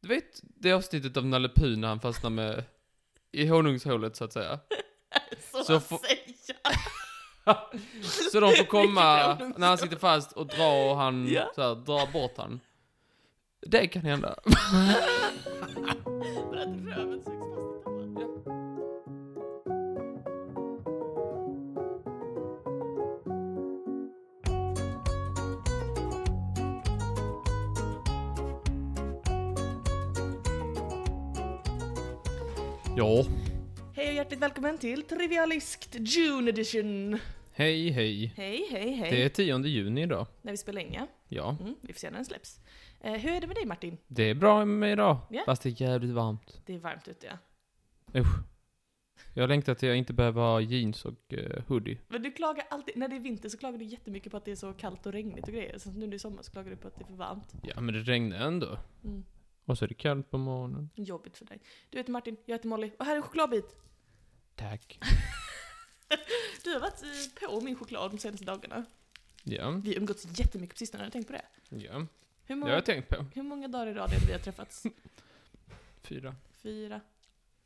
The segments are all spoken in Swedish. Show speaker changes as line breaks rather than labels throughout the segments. Du vet det avsnittet av Nalle Puh när han fastnar med... I honungshålet så att säga.
Så,
Så
att
får-
säga.
Så de får komma
Vilket
när han sitter fast och drar och han
Ja.
så här, drar bort han. Det kan hända.
För att röven sugs fast i pannan.
Ja.
Hej och hjärtligt välkommen till Trivialiskt June Edition.
Hej hej.
Hej, hej, hej.
Det är 10 juni idag.
När vi spelar in ja.
Ja.
Mm, vi får se när den släpps. Eh, hur är det med dig Martin?
Det är bra med idag.
Ja.
Fast det är jävligt varmt.
Det är varmt ute ja.
Usch. Jag längtar till jag inte behöver ha jeans och eh, hoodie.
Men du klagar alltid, när det är vinter så klagar du jättemycket på att det är så kallt och regnigt och grejer. Sen nu när det är sommar så klagar du på att det är för varmt.
Ja men det regnar ändå.
Mm.
Och så är det kallt på morgonen.
Jobbigt för dig. Du heter Martin, jag heter Molly och här är en chokladbit.
Tack.
Du har varit eh, på min choklad de senaste dagarna.
Ja.
Vi har umgåtts jättemycket på sistone, har du tänkt på det?
Ja.
Hur
Det
många,
har jag tänkt på.
hur många dagar i rad är det vi har träffats?
Fyra.
Fyra.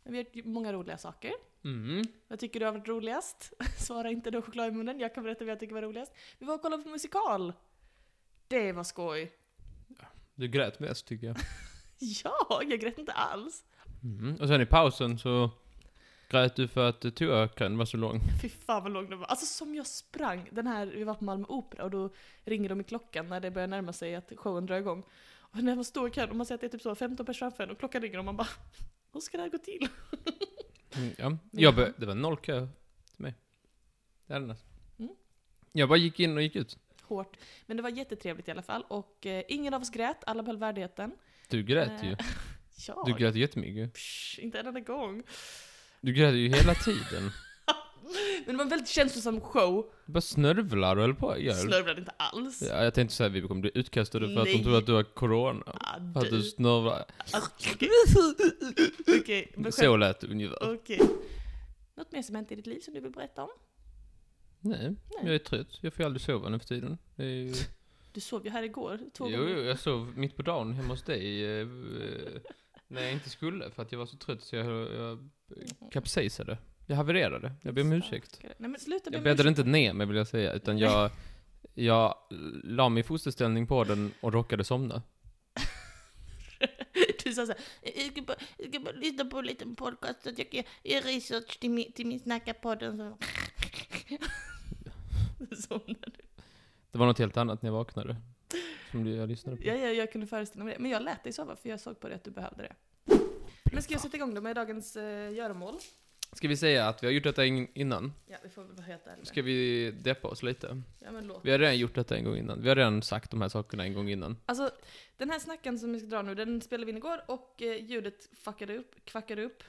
Men Vi har gjort många roliga saker.
Mm.
Vad tycker du har varit roligast? Svara inte du har choklad i munnen, jag kan berätta vad jag tycker var roligast. Vi var och kollade på musikal! Det var skoj!
Du grät mest tycker jag.
Ja, jag grät inte alls!
Mm. Och sen i pausen så grät du för att eh, toakön var så lång.
Fy fan vad lång den var. Alltså som jag sprang, den här, vi var på Malmö Opera och då ringer de i klockan när det börjar närma sig att showen drar igång. Och när man står i kön och man ser att det är typ så 15 personer framför en och klockan ringer och man bara Hur ska det här gå till?
Mm, ja. Jag be- det var noll kö till mig. Det hade nästan.
Mm.
Jag bara gick in och gick ut.
Hårt. Men det var jättetrevligt i alla fall och eh, ingen av oss grät, alla behöll värdigheten.
Du grät ju.
Ja,
Du grät jättemycket.
psh, inte en enda gång.
Du grät ju hela tiden.
Men det var en väldigt känslosam show.
Du bara snörvlar och höll på. Jag,
Snörvlade inte alls.
ja, jag tänkte säga att vi kommer bli utkastade för att de
Nej.
tror att du har corona.
Ah,
För att du
du.
snörvlar.
Alltså, Okej, Okej, men
Så
själv...
lät det ungefär.
Okej. Något mer som hänt i ditt liv som du vill berätta om?
Nej, jag är trött. Jag får ju aldrig sova nu för tiden. Det är ju...
Du sov ju här igår, två
Jo,
gånger.
jo, jag sov mitt på dagen hemma hos dig. eh, eh, När jag inte skulle, för att jag var så trött så jag, jag kapsejsade. Jag havererade. Jag ber om ursäkt.
Nej men sluta be
Jag
om
bäddade
ursäkt.
inte ner mig vill jag säga, utan jag, jag la mig i fosterställning på den och råkade somna.
Du sa såhär, jag ska bara, jag ska bara lyssna på en liten podcast så att jag kan göra research till min, till min snackarpodd. och så- Somnade.
Det var något helt annat när jag vaknade. Som jag lyssnade på.
Ja, ja, jag kunde föreställa mig det. Men jag lät dig sova för jag såg på dig att du behövde det. Men ska jag sätta igång då med dagens eh, göromål?
Ska vi säga att vi har gjort detta en- innan?
Ja, vi får väl vara helt ärliga.
Ska vi deppa oss lite?
Ja, men låt.
Vi har redan gjort detta en gång innan. Vi har redan sagt de här sakerna en gång innan.
Alltså, den här snacken som vi ska dra nu, den spelade vi in igår och eh, ljudet fuckade upp, kvackade upp.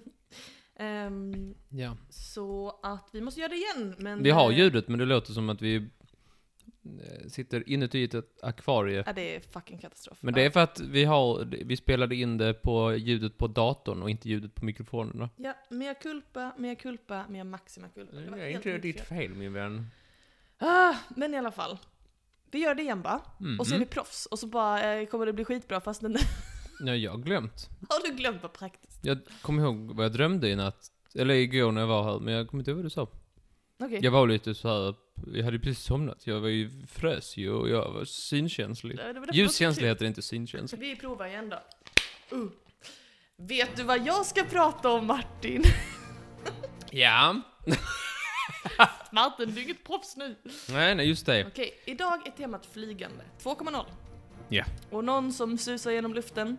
Ehm,
Ja.
så att vi måste göra det igen, men...
Vi har
eh,
ljudet, men det låter som att vi eh, sitter inuti ett akvarie.
Ja, det är fucking katastrof.
Men det är för att vi, har, vi spelade in det på ljudet på datorn och inte ljudet på mikrofonerna.
Ja, mea culpa, mea culpa, mea maxima culpa. Det var helt mitt fel.
fel min vän.
Ah, men i alla fall. Vi gör det igen bara.
Mm.
Och så är vi proffs. Och så bara eh, kommer det bli skitbra fast den...
Ja, jag har glömt.
Har du glömt vad praktiskt?
Jag kommer ihåg vad jag drömde i natt. Eller igår när jag var här, men jag kommer inte ihåg vad du sa.
Okej.
Jag var lite så här. jag hade precis somnat. Jag var ju, frös ju och jag var synkänslig.
Det var därför
Ljuskänslig
det var
heter det inte synkänslig.
så kul. Vi provar igen då. Uh. Vet du vad jag ska prata om Martin?
Ja.
Martin, du är inget proffs nu.
Nej, nej, just det.
Okej, idag är temat flygande. 2,0.
Ja.
Och någon som susar genom luften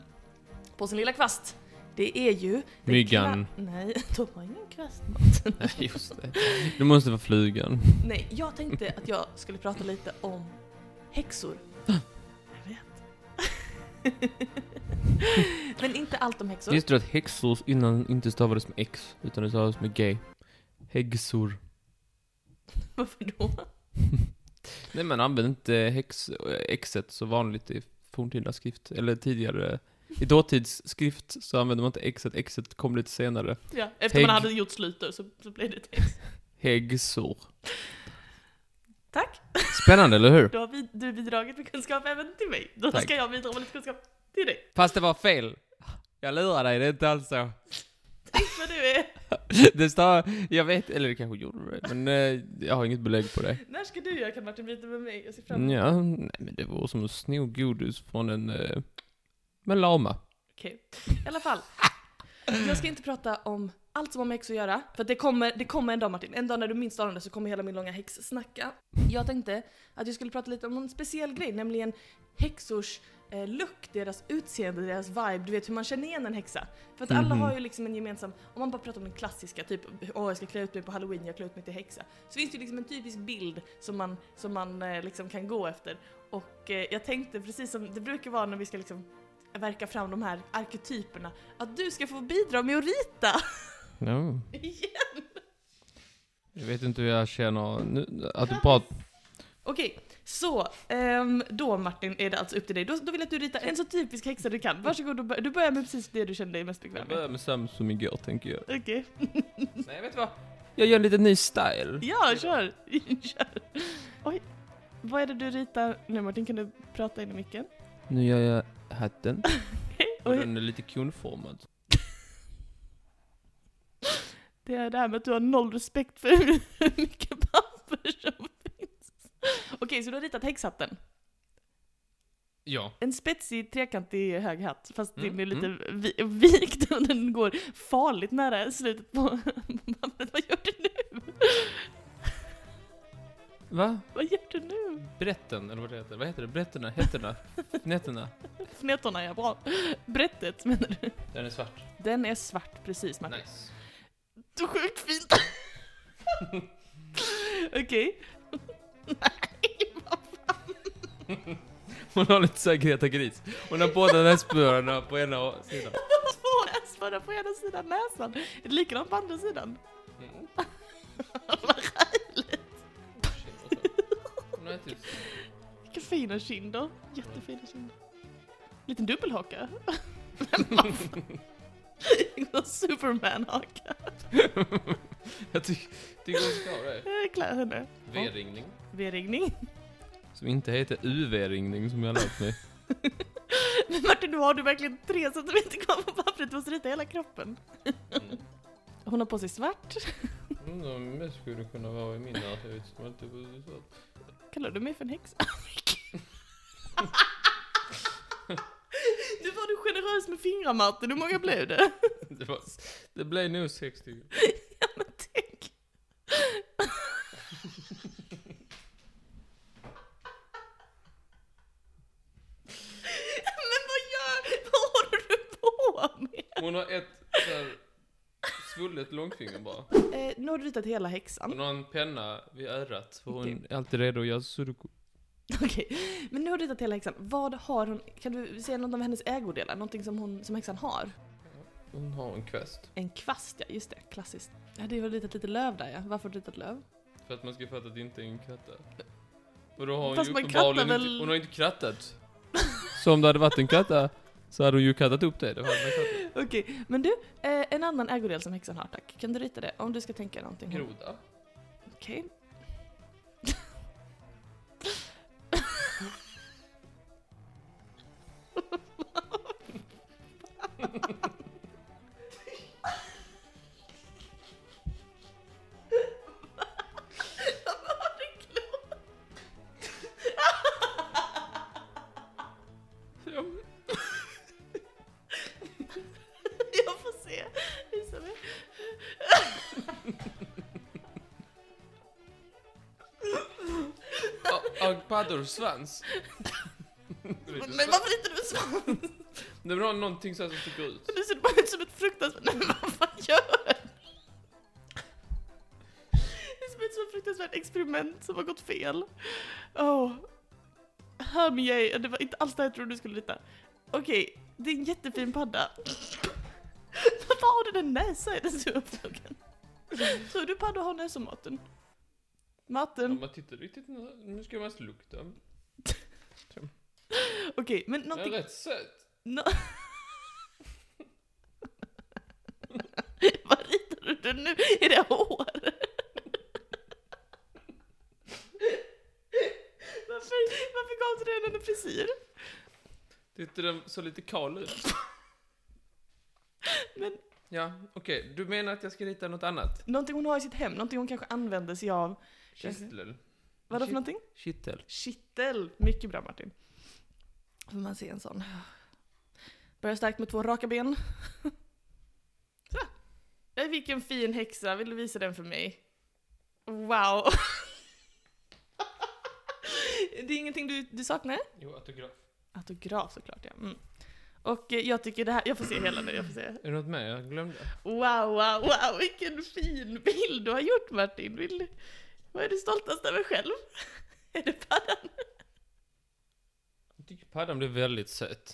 på sin lilla kvast. Det är ju... den
Myggan.
kla- Nej, de har ingen kvast.
Nej, just det. Du måste vara flygan.
Nej, jag tänkte att jag skulle prata lite om häxor. Jag vet. Men inte allt om häxor.
Visste du att häxor innan inte stavades med X, utan det stavades med G? Häxor.
Varför då?
Nej, man använde inte häx, Xet så vanligt i forntida skrift, eller tidigare. I dåtidsskrift så använde man inte Xet, Xet kom lite senare.
Ja, efter man
Hägg.
hade gjort slut då, så, så blev det typ- ett häx.
Häxor.
Tack!
Spännande, eller hur?
Då har vi, du bidragit med kunskap även till mig. Då
Tack.
ska jag bidra med lite kunskap Det är dig.
Fast det var fel. Jag lurar dig, det är inte alls så.
Tänk vad du är.
Det står, jag vet, eller det kanske gjorde det, men eh, jag har inget belägg på det.
När ska du göra Kan Martin byta med mig? Jag ser fram emot
Ja, nej men det var som att sno godis från en, eh, en lama.
Okej, i alla fall. Jag ska inte prata om allt som har med häxor att göra. För att det kommer, det kommer en dag Martin. En dag när du minst anar det så kommer hela min långa häxsnacka. Jag tänkte att jag skulle prata lite om en speciell grej, nämligen häxors eh, look, deras utseende, deras vibe. Du vet hur man känner igen en häxa. För att alla
Mhm.
har ju liksom en gemensam, om man bara pratar om den klassiska, typ åh jag ska klä ut mig på halloween, jag klär ut mig till häxa. Så finns det ju liksom en typisk bild som man, som man eh, liksom kan gå efter. Och eh, jag tänkte precis som det brukar vara när vi ska liksom verka fram de här arketyperna, att du ska få bidra med att rita
Ja.
igen!
Jag vet inte hur jag känner nu, att du pratar...
Okej, så ehm, då Martin är det alltså upp till dig. Då, då vill jag att du ritar en så typisk häxa du kan. Varsågod, du, bör, du börjar med precis det du känner dig mest bekväm
Jag
med.
börjar med Samsung igår, tänker jag.
Okej.
Nej, vet du vad? Jag gör en liten ny style.
Ja, kör! kör! Oj. Vad är det du ritar nu Martin? Kan du prata in i micken?
Nu gör jag hatten. Och
Oj,
den är lite konformad.
det är det här med att du har noll respekt för hur mycket papper som finns. Okej, så du har ritat häxhatten.
Ja.
En spetsig trekantig hög hatt, fast den
Mm,
är lite vi, vikt och den går farligt nära slutet på på pappret. Vad gör du nu?
Va?
Vad gör du nu?
Brätten, eller vad det heter. Vad heter det? Brätterna? Hätterna? Nätterna?
Fnetorna är bra. Brättet menar du?
Den är svart.
Den är svart precis Martin.
Nice.
Du är sjukt fint! Okej. Nej, vad fan.
Hon har lite såhär Greta Gris. Hon har båda näsborrarna på ena sidan.
Två näsborrar på ena sidan näsan. Är det likadant på andra sidan?
Mm.
Vad härligt!
Hon har ätit-
Vilka fina kinder. Jättefina kinder. Liten dubbelhaka. Men vad fan. Någon Superman-haka.
Jag ty- tycker hon ska ha det.
Jag klär henne.
V-ringning.
V-ringning.
Som inte heter UV-ringning som jag lärt mig.
Men Martin, nu har du verkligen tre centimeter kvar på pappret. Du måste rita hela kroppen.
Mm.
Hon har på sig svart.
Undrar om det skulle kunna vara i min närhet som alltid var så.
Kallar du mig för en häxa? Nu var du generös med fingrar Martin, hur många blev det?
Det, var, det blev nog sex stycken.
Ja men tänk. Men vad gör, vad håller du på med?
Hon har ett såhär svullet långfinger bara.
Eh, nu har du ritat hela
Hon
häxan.
har en penna vid örat för hon
Okej.
är alltid redo att göra sudoku.
Okej, men nu har du ritat hela häxan. Vad har hon, kan du säga något om hennes ägodelar? Någonting som, hon, som häxan har?
Hon har en kvast.
En kvast ja, just det, klassiskt. Ja, det var ritat lite löv där ja. Varför har du ritat löv?
För att man ska fatta att det inte är en kratta. Och då har hon
Fast
ju
man
uppenbarligen
krattar
inte,
väl-
hon har inte krattat. Så om det hade varit en kratta så hade hon ju krattat upp det. det hade man krattat.
Okej, men du, eh, en annan ägodel som häxan har tack. Kan du rita det? Om du ska tänka någonting.
Groda.
Okej.
Ja.
Jag får se. Visa mig.
Och- Och paddorsvans.
Men varför ritar du en svans?
Det var någonting så här som sticker ut.
Du ser bara ut som ett fruktansvärt... Nej men vad fan gör du? Det ser ut som ett fruktansvärt experiment som har gått fel. Åh. Hör mig ej, det var inte alls det jag trodde du skulle rita. Okej, det är en jättefin padda. Varför har du den näsa i den stora frågan? Tror du paddor har näsa maten?
Ja,
Maten?
man tittar riktigt nu- Nu ska man slukta.
Okej, men
Den är
någonting...
rätt söt.
Nå- Vad ritar du nu? Är det hår? varför, varför gav du den en frisyr?
Tyckte den såg lite kal ut.
Men-
Ja, okej. Du menar att jag ska rita något annat?
Någonting hon har i sitt hem, någonting hon kanske använder sig av.
Kittel.
Vadå
Kitt-
för någonting?
Kittel.
Kittel! Mycket bra Martin. Får man se en sån. Börjar starkt med två raka ben. Så. Ah, Jag fick en fin häxa, vill du visa den för mig? Wow! Det är ingenting du, du saknar?
Jo, autograf.
Autograf såklart ja. Mm. Och eh, jag tycker det här, jag får se hela nu, jag får se.
Är det något mer jag glömde?
Wow, wow, wow, vilken fin bild du har gjort Martin. Vill, vad är du stoltast över själv? Är det paddan?
Jag tycker paddan blev väldigt söt.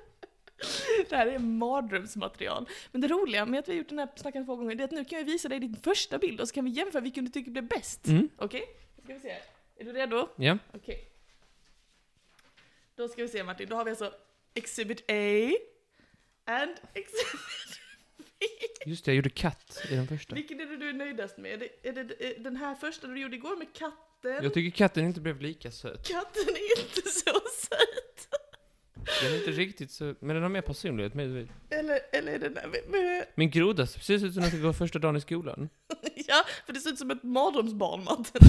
Det här är mardrömsmaterial. Men det roliga med att vi har gjort den här snackaren två gånger, det är att nu kan jag visa dig din första bild och så kan vi jämföra vilken du tycker blev bäst.
Mm.
Okej? Då ska vi se. Är du redo?
Ja.
Okej. Då ska vi se Martin, då har vi alltså Exhibit A and Exhibit B.
Just det, jag gjorde katt i den första.
Vilken är det du är nöjdast med? Är det, är det är den här första du gjorde igår med katten?
Jag tycker katten inte blev lika söt.
Katten är inte så söt.
Den är inte riktigt söt, men den har mer personlighet. Med.
Eller, eller är det den där med, med...
Min groda ser precis ut som att det går första dagen i skolan.
Ja, för det ser ut som ett mardrömsbarn, Martin.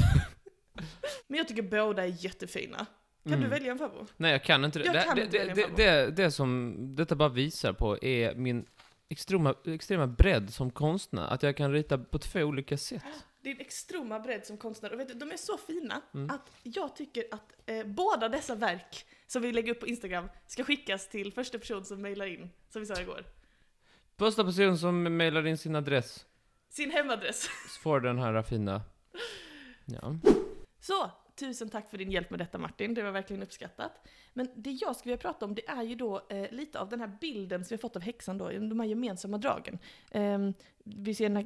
Men jag tycker båda är jättefina. Kan du
Mm.
välja en favorit?
Nej, jag kan inte det.
Jag
det,
kan
det,
inte
det,
välja
det,
en
det, det som detta bara visar på är min extrema, extrema bredd som konstnär. Att jag kan rita på två olika sätt.
Din extrema bredd som konstnär. Och vet du, de är så fina
Mm.
att jag tycker att eh, båda dessa verk som vi lägger upp på Instagram ska skickas till första person som mejlar in, som vi sa igår.
Första personen som mejlar in sin adress
Sin hemadress.
får den här fina...
Mm,
Ja.
Så, tusen tack för din hjälp med detta Martin, det var verkligen uppskattat. Men det jag skulle vilja prata om det är ju då eh, lite av den här bilden som vi har fått av häxan då, de här gemensamma dragen. Ehm, vi ser den här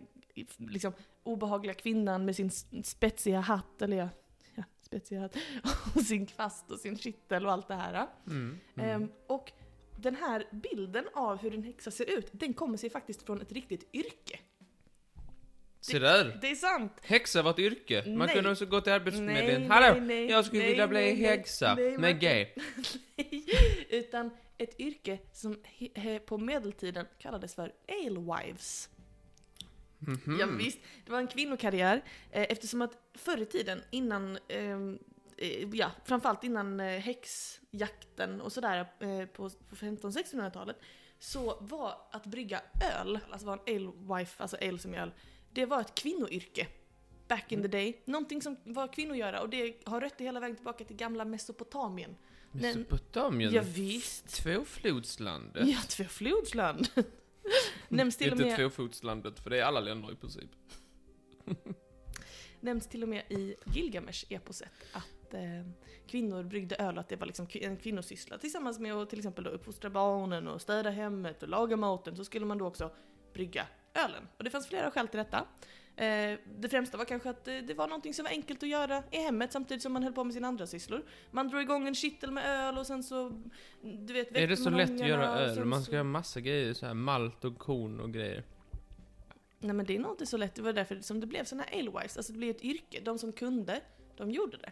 liksom, obehagliga kvinnan med sin s- spetsiga hatt, eller ja, ja spetsiga hatt, och sin kvast och sin kittel och allt det här. ja.
Mm.
Ehm,
Mm.
och den här bilden av hur en häxa ser ut, den kommer sig faktiskt från ett riktigt yrke.
Se där!
Det är sant!
Häxa var ett yrke. Man
Nej.
kunde också gå till Arbetsförmedlingen.
Nej,
Hallå!
nej, nej,
jag skulle
nej,
vilja bli
nej, nej,
häxa.
nej,
med
Martin.
G.
Nej, utan ett yrke som he, he, på medeltiden kallades för alewives.
Mhm.
Ja, visst, det var en kvinnokarriär eh, eftersom att förr i tiden innan ehm, eh, Ja, framförallt innan eh, häxjakten och sådär eh, på, på 1500-1600-talet så var att brygga öl, alltså var en alewife, alltså ale som är öl, det var ett kvinnoyrke back in the day. Någonting som var kvinnogöra och det har rötter hela vägen tillbaka till gamla Mesopotamien. Nej.
Mesopotamien.
Ja, visst.
Tvåflodslandet.
Ja, tvåflodsland. nämns, till och
Inte
med,
tvåfotslandet, för det är alla länder i princip.
nämns till och med i Gilgamesh-eposet att eh, kvinnor bryggde öl och att det var liksom kvi- en kvinnosyssla. Tillsammans med att till exempel då uppfostra barnen och städa hemmet och laga maten så skulle man då också brygga ölen. Och det fanns flera skäl till detta. Eh, det främsta var kanske att eh, det var någonting som var enkelt att göra i hemmet samtidigt som man höll på med sina andra sysslor. Man drog igång en kittel med öl och sen så, du vet,
är
väckte
det så
man
lätt att göra
ungarna och
öl?
sen
Man
så-
ska göra massa grejer, så här malt och korn och grejer.
Nej men det är nog inte så lätt, det var därför som det blev såna här alewives, alltså det blev ett yrke. De som kunde, de gjorde det.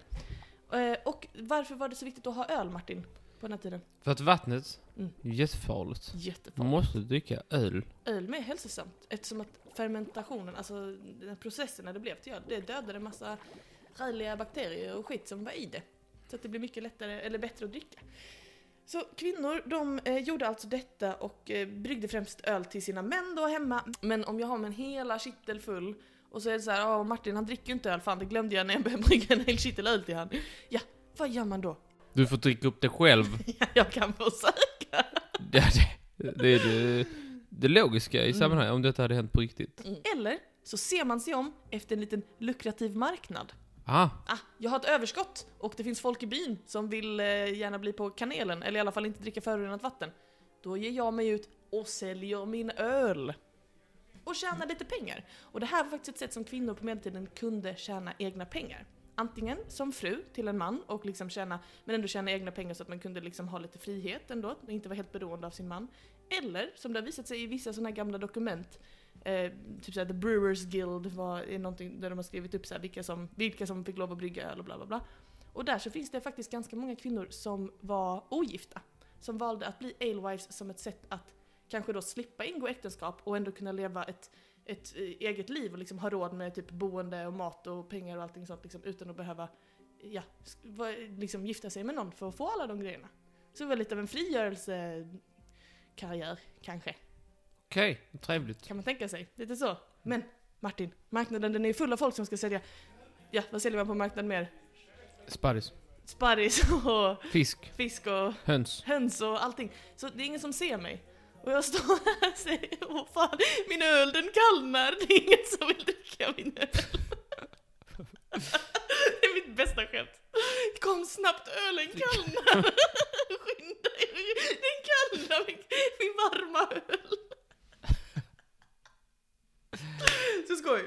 Eh, Och varför var det så viktigt att ha öl Martin? På den här tiden?
För att vattnet,
Mm.
är jättefarligt. Man
Jättefarligt.
måste dricka öl.
Öl med är hälsosamt eftersom att fermentationen, alltså den här processen när det blev till öl, det dödade en massa härliga bakterier och skit som var i det. Så att det blir mycket lättare, eller bättre att dricka. Så kvinnor, de eh, gjorde alltså detta och eh, bryggde främst öl till sina män då hemma. Men om jag har min hela kittel full och så är det så här, "Åh, Martin han dricker ju inte öl, fan det glömde jag när jag började brygga en hel kittel öl till han. Ja, vad gör man då?
Du får dricka upp det själv.
Ja, jag kan försöka.
det, det, det är det, det logiska i
Mm.
sammanhanget, om detta hade hänt på riktigt.
Eller så ser man sig om efter en liten lukrativ marknad.
Ah,
Ah, jag har ett överskott och det finns folk i byn som vill eh, gärna bli på kanelen, eller i alla fall inte dricka förorenat vatten. Då ger jag mig ut och säljer min öl. Och tjänar lite pengar. Och det här var faktiskt ett sätt som kvinnor på medeltiden kunde tjäna egna pengar. Antingen som fru till en man och liksom tjäna, men ändå tjäna egna pengar så att man kunde liksom ha lite frihet ändå, och inte vara helt beroende av sin man. Eller, som det har visat sig i vissa sådana här gamla dokument, eh, typ såhär The Brewers Guild var, är någonting där de har skrivit upp såhär vilka som, vilka som fick lov att brygga öl och bla bla bla. Och där så finns det faktiskt ganska många kvinnor som var ogifta. som valde att bli alewives som ett sätt att kanske då slippa ingå äktenskap och ändå kunna leva ett, ett eh, eget liv och liksom ha råd med typ boende och mat och pengar och allting sånt liksom, utan att behöva ja, sk- va- liksom gifta sig med någon för att få alla de grejerna. Så det var lite av en frigörelsekarriär kanske,
Okej, trevligt.
kan man tänka sig. Lite så. Men Martin, marknaden den är ju full av folk som ska sälja, ja vad säljer man på marknaden mer?
Sparris.
Sparris och
Fisk.
fisk och
Höns.
höns och allting. Så det är ingen som ser mig. Och jag står här och säger åh fan, min öl den kallnar, det är ingen som vill dricka min öl. Det är mitt bästa skämt. Kom snabbt, ölen kallnar! Skynda er, den kallnar, min, min varma öl. Så skoj.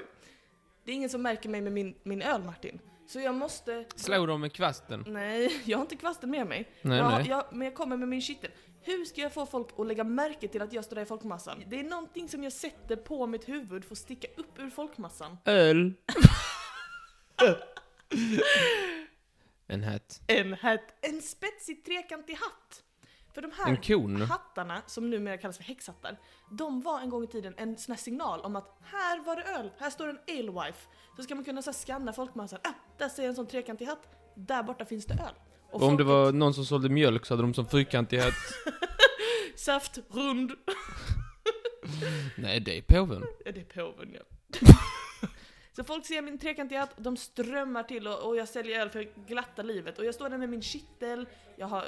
Det är ingen som märker mig med min, min öl Martin. Så jag måste...
Slå dem med kvasten.
Mm. Nej, jag har inte kvasten med mig.
Nej,
jag,
nej.
Jag, men jag kommer med min kittel. Hur ska jag få folk att lägga märke till att jag står där i folkmassan? Det är någonting som jag sätter på mitt huvud för att sticka upp ur folkmassan.
Öl. en hatt.
En hatt. En spetsig trekantig hatt. För de här
En kon.
hattarna, som numera kallas för häxhattar, de var en gång i tiden en sån här signal om att här var det öl, här står en alewife. Så ska man kunna så här skanna folkmassan. Ah, där ser jag en sån trekantig hatt. Där borta finns det öl.
Och om det var någon som sålde mjölk så hade de som fyrkantig hatt.
Saft, rund.
Nej, det är påven.
Ja, det är påven ja. Så folk ser min trekantiga hatt, de strömmar till och, och jag säljer öl för glatta livet. Och jag står där med min kittel, jag har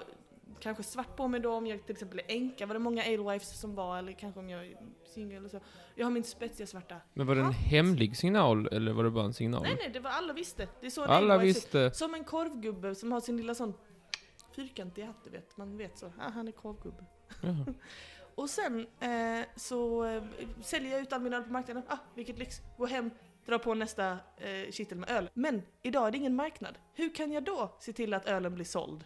kanske svart på mig då om jag till exempel är änka, var det många alewives som var, eller kanske om jag är singel eller så. Jag har min spetsiga svarta.
Men var det en
Hatt.
hemlig signal eller var det bara en signal?
Nej nej, det var alla visste. Det är så en
Alla
alewife ser
visste.
ut. Som en korvgubbe som har sin lilla sån fyrkantiga hatt, du vet. Man vet så, ah, han är korvgubbe.
Jaha.
Och sen eh, så eh, säljer jag ut all min öl på marknaden. Ah, vilket lyx! Gå hem, dra på nästa eh, kittel med öl. Men idag är det ingen marknad. Hur kan jag då se till att ölen blir såld?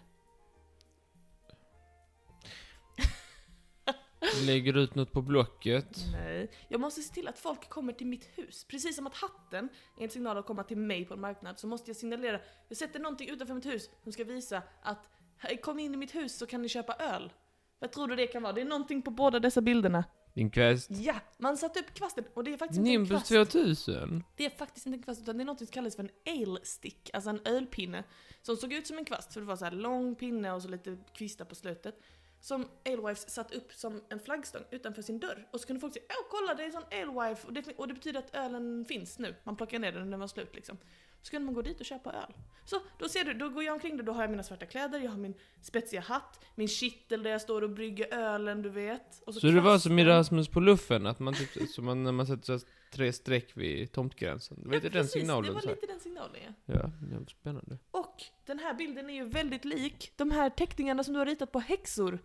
Lägger ut något på Blocket.
Nej. Jag måste se till att folk kommer till mitt hus. Precis som att hatten är en signal att komma till mig på en marknad så måste jag signalera. Jag sätter någonting utanför mitt hus som ska visa att "Hej, kom in i mitt hus så kan ni köpa öl. Vad tror du det kan vara? Det är någonting på båda dessa bilderna.
Din kvast.
Ja, man satte upp kvasten och det är faktiskt inte en
Nimbus
kvast.
2000.
Det är faktiskt inte en kvast utan det är något som kallas för en ale-stick, alltså en ölpinne. Som såg ut som en kvast för det var så här lång pinne och så lite kvistar på slutet. Som Alewives satt upp som en flaggstång utanför sin dörr. Och så kunde folk säga åh kolla det är en sån Alewife och det, och det betyder att ölen finns nu. Man plockar ner den när den var slut liksom. Så kunde man gå dit och köpa öl. Så då ser du, då går jag omkring där, då har jag mina svarta kläder, jag har min spetsiga hatt, min kittel där jag står och brygger ölen du vet. Och
Så det var alltså som i
kvasten.
Rasmus på luffen, att man typ, som man, när man sätter så här tre streck vid tomtgränsen. Det var lite den
Precis,
signalen
det var
så här.
lite den signalen ja.
Ja, det var spännande.
Och den här bilden är ju väldigt lik de här teckningarna som du har ritat på häxor.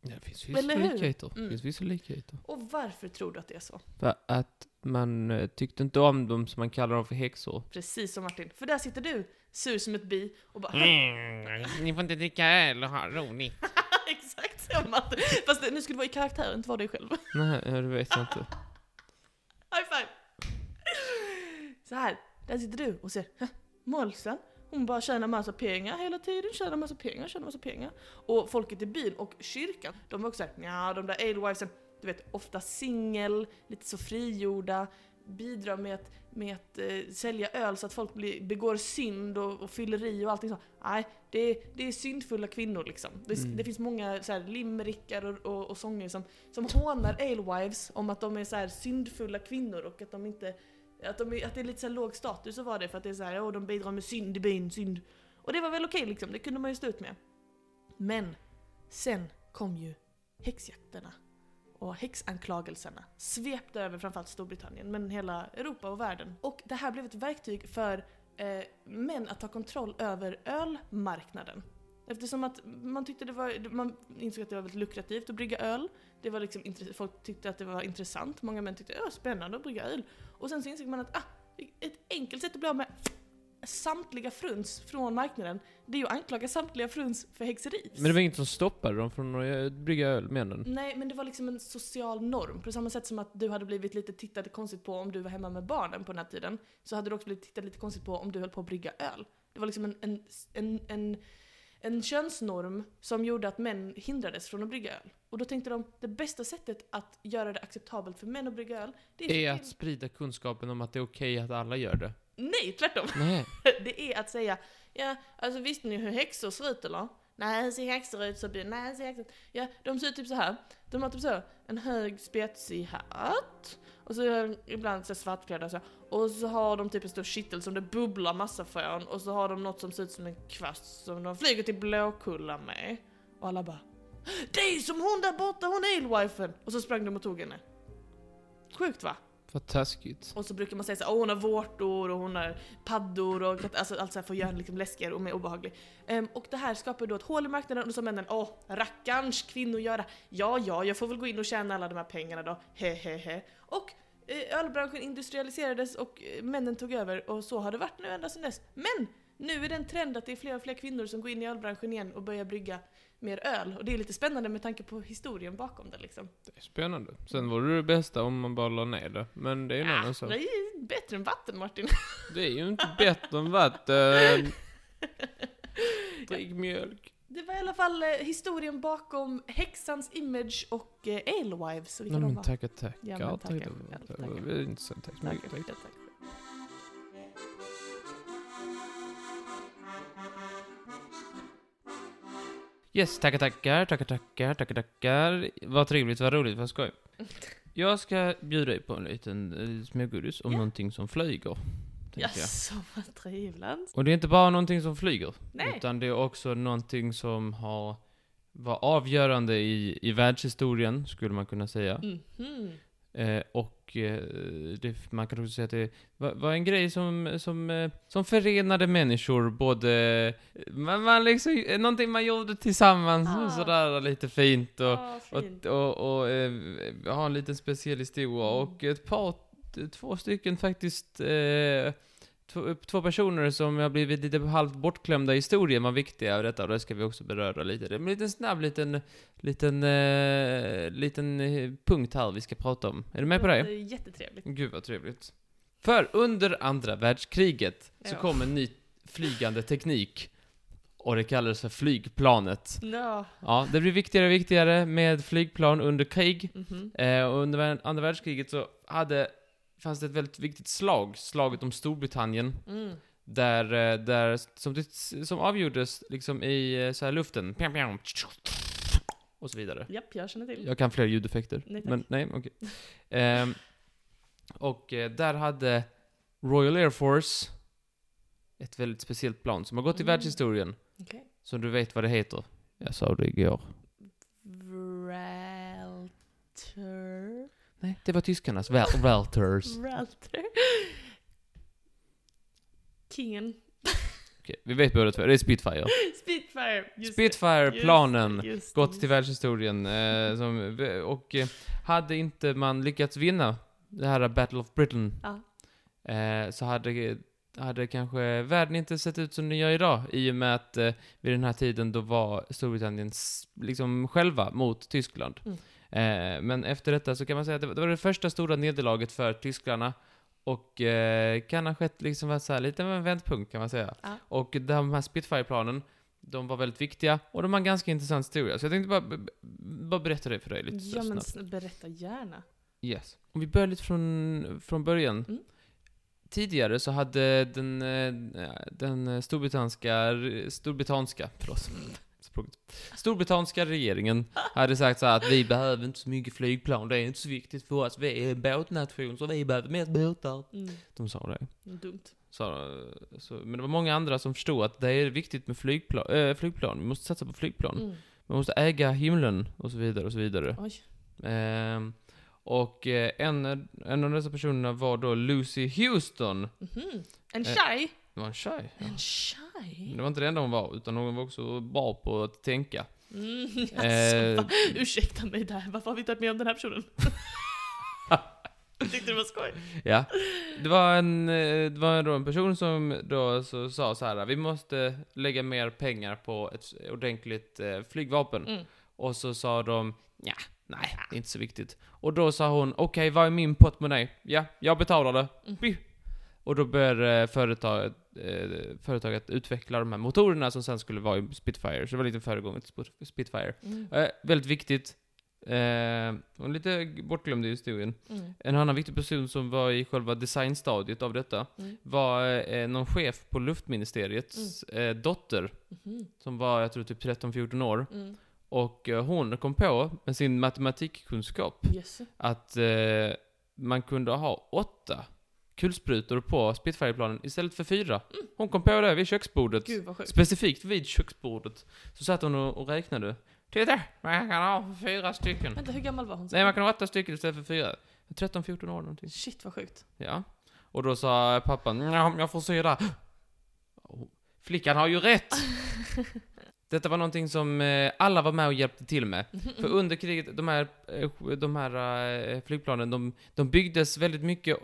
Ja, det finns vissa
Eller hur?
likheter.
Mm.
Det finns vissa likheter.
Och varför tror du att det är så?
För att man eh, tyckte inte om dem som man kallar dem för häxor.
Precis som Martin, för där sitter du, sur som ett bi, och bara
Mm. ni får inte dricka öl och ha roligt.
exakt som Martin. Fast nu skulle du vara i karaktär, inte vara dig själv.
Nej, ja, det vet jag inte.
High five! Så här, där sitter du och ser, "Hä? Målsen, hon bara tjänar massa pengar hela tiden, tjänar massa pengar, tjänar massa pengar. Och folket i byn och kyrkan, de var också såhär, ja de där alewivesen, du vet ofta singel, lite så frigjorda, bidrar med att, med att eh, sälja öl så att folk blir, begår synd och, och fylleri och allting sånt. Nej, det, är- det är syndfulla kvinnor liksom. Det,
Mm.
det finns många så här, limerickar och, och, och sånger som, som hånar alewives om att de är så här syndfulla kvinnor och att de inte att, de, är- att det är lite så här låg status så var det för att det är så här, åh de bidrar med synd i byn, synd. Och det var väl okej liksom, det kunde man ju stå ut med. Men sen kom ju häxjakterna och häxanklagelserna svepte över framförallt Storbritannien men hela Europa och världen. Och det här blev ett verktyg för eh, män att ta kontroll över ölmarknaden. Eftersom att man tyckte det var, man insåg att det var väldigt lukrativt att brygga öl. Det var liksom, intress- folk tyckte att det var intressant, många män tyckte att spännande att brygga öl. Och sen så insåg man att ah, ett enkelt sätt att bli av med samtliga fruns från marknaden, det är ju att anklaga samtliga fruns för häxeri.
Men det var inget som stoppade dem från att eh, brygga öl, männen.
Nej, men det var liksom en social norm. På samma sätt som att du hade blivit lite tittad konstigt på om du var hemma med barnen på den här tiden, så hade du också blivit tittad lite konstigt på om du höll på att brygga öl. Det var liksom en, en, en, en, en könsnorm som gjorde att män hindrades från att brygga öl. Och då tänkte de, det bästa sättet att göra det acceptabelt för män att brygga öl, det är,
Är att sprida kunskapen om att det är okej att alla gör det.
Nej, tvärtom!
Nej.
Det är att säga, ja, alltså visste ni hur häxor ser ut eller? Nej, ser häxor ut så blir nej, ser häxor ut. Ja, de ser ut typ så här. De har typ så, en hög spetsig hatt. Och så är de ibland så svartklädda så. Och så har de typ en stor kittel som det bubblar massa från. Och så har de något som ser ut som en kvast som de flyger till Blåkulla med. Och alla bara, det är som hon där borta, hon är alewifen! Och så sprang de och tog henne. Sjukt va?
Vad taskigt.
Och så brukar man säga såhär, åh hon har vårtor och hon har paddor och katt- alltså, allt såhär för att göra henne liksom läskigare och mer obehaglig. Ehm, och det här skapar då ett hål i marknaden och så männen, åh rackarns kvinnogöra, ja ja, jag får väl gå in och tjäna alla de här pengarna då, he he he. Och eh, ölbranschen industrialiserades och eh, männen tog över och så har det varit nu ända sedan dess. Men! Nu är det en trend att det är fler och fler kvinnor som går in i ölbranschen igen och börjar brygga mer öl. Och det är lite spännande med tanke på historien bakom det liksom.
Det är spännande. Sen vore det bästa om man bara la ner det. Men det är ju en
Ah,
annan sak.
det är bättre än vatten Martin.
Det är ju inte bättre än vatten. Drick mjölk.
Det var i alla fall eh, historien bakom häxans image och eh, Alewives och vilka
Nej
de
men
var.
tackar, tackar.
Ja, men
Ja,
tackar,
tackar.
själv,
Det var
tackar.
väldigt intressant. Tack så
Tack,
mycket.
ja, tack.
Yes, tackar, tackar, tackar, tackar, tackar, tackar. Vad trevligt, vad roligt, vad skoj. Jag ska bjuda dig på en liten eh, smågodis om
Ja.
någonting som flyger. Yes. Jag.
Jaså, vad trevligt.
Och det är inte bara någonting som flyger.
Nej.
Utan det är också någonting som har var avgörande i, i världshistorien, skulle man kunna säga.
Mhm.
Eh, och eh, det, man kan också säga att det var, var en grej som, som, eh, som förenade människor både... Man, man liksom, eh, någonting man gjorde tillsammans
Ah.
och sådär lite fint och,
Ah, fint.
och, och, och eh, ha en liten speciell historia och ett par, två stycken faktiskt eh, Två, två personer som har blivit lite halvt bortglömda i historien var viktiga av detta och det ska vi också beröra lite. Det är en liten snabb liten, liten, eh, liten eh, punkt här vi ska prata om. Är du med på det?
Låter Jättetrevligt.
Gud vad trevligt. För under andra världskriget så
Ja.
kom en ny flygande teknik. Och det kallades för flygplanet.
Ja.
Ja, det blir viktigare och viktigare med flygplan under krig.
Mhm.
Eh, och under vär- andra världskriget så hade, fanns det ett väldigt viktigt slag, slaget om Storbritannien.
Mm.
Där, eh, där som, det, som avgjordes liksom i eh, så här luften. Pjam, pjam, Och så vidare.
Japp, jag känner till.
Jag kan fler ljudeffekter.
Nej, tack.
men nej, okej. Ehm, och eh, där hade Royal Air Force ett väldigt speciellt plan som har gått i
Mm.
världshistorien.
Okej.
Som du vet vad det heter. Jag sa det igår.
Vralter.
Nej, det var tyskarnas. Wel- Welters.
Mm. Vralter. Kingen.
Okej, vi vet båda två. Det är Spitfire.
Spitfire. Just det. Just
Spitfire-planen.
det, just det,
Gått
just
till världshistorien. Eh, som, och eh, hade inte man lyckats vinna det här Battle of Britain
Ja.
eh, så hade, hade kanske världen inte sett ut som den gör idag i och med att eh, vid den här tiden då var Storbritannien s- liksom själva mot Tyskland.
Mm.
Eh, men efter detta så kan man säga att det var det, var det första stora nederlaget för tyskarna och eh, kan ha skett liksom var så här, lite av en vändpunkt kan man säga.
Ja.
Och de här Spitfire-planen de var väldigt viktiga och de har en ganska intressant historia. Så jag tänkte bara, b- b- bara berätta det för dig lite
Ja
snabbt.
men sn- berätta gärna.
Yes. Om vi börjar lite från, från början.
Mm.
Tidigare så hade den, eh, den storbritanniska, storbritanniska, förlåt, språket. Storbritanniska regeringen hade sagt så här att vi behöver inte så mycket flygplan, det är inte så viktigt för oss, vi är en båtnation så vi behöver mest båtar.
Mm.
De sa det.
Dumt.
Så, så, men det var många andra som förstod att det är viktigt med flygplan, eh, flygplan. vi måste satsa på flygplan.
Mm.
Man måste äga himlen och så vidare och så vidare.
Oj.
Ehm, och eh, en, en av dessa personerna var då Lucy Houston.
Mhm. En
Eh,
tjej?
Det var en tjej. Ja.
En tjej?
Men Det var inte det enda hon var, utan hon var också bra på att tänka.
Mm,
Eh.
alltså, va, ursäkta mig där, varför har vi inte varit med om den här personen? Jag tyckte det var skoj.
Ja. Det var en, eh, det var då en person som då så, sa så här, vi måste lägga mer pengar på ett ordentligt eh, flygvapen.
Mm.
Och så sa de, ja, nej, det är inte så viktigt. Och då sa hon, okej, vad är min portmonnä? Ja, jag betalar det.
Mm.
Bi. Och då började företaget, eh, företag att utveckla de här motorerna som sen skulle vara i Spitfire. Så det var lite föregången till Spot- Spitfire.
Mm.
Eh, väldigt viktigt. Eh, och lite bortglömd i historien.
Mm.
En annan viktig person som var i själva designstadiet av detta
Mm.
var eh, någon chef på luftministeriets eh, dotter
Mhm.
som var, jag tror, typ 13-14 år.
Mm.
Och eh, hon kom på, med sin matematikkunskap,
Yes.
att eh, man kunde ha åtta kulsprutor på Spitfireplanen istället för fyra. Hon kom på det vid köksbordet.
Mm. Gud vad sjukt.
Specifikt vid köksbordet. Så satt hon och, och räknade. Titta! Man kan ha fyra stycken.
Vänta, hur gammal var hon?
Mm. Nej, man kan ha åtta stycken istället för fyra. 13-14 år någonting.
Shit vad sjukt.
Ja. Och då sa pappan, "Nja, jag får se där. Flickan har ju rätt! Detta var någonting som eh, alla var med och hjälpte till med.
Mm,
För under kriget, de här, eh, de här eh, flygplanen, de, de byggdes väldigt mycket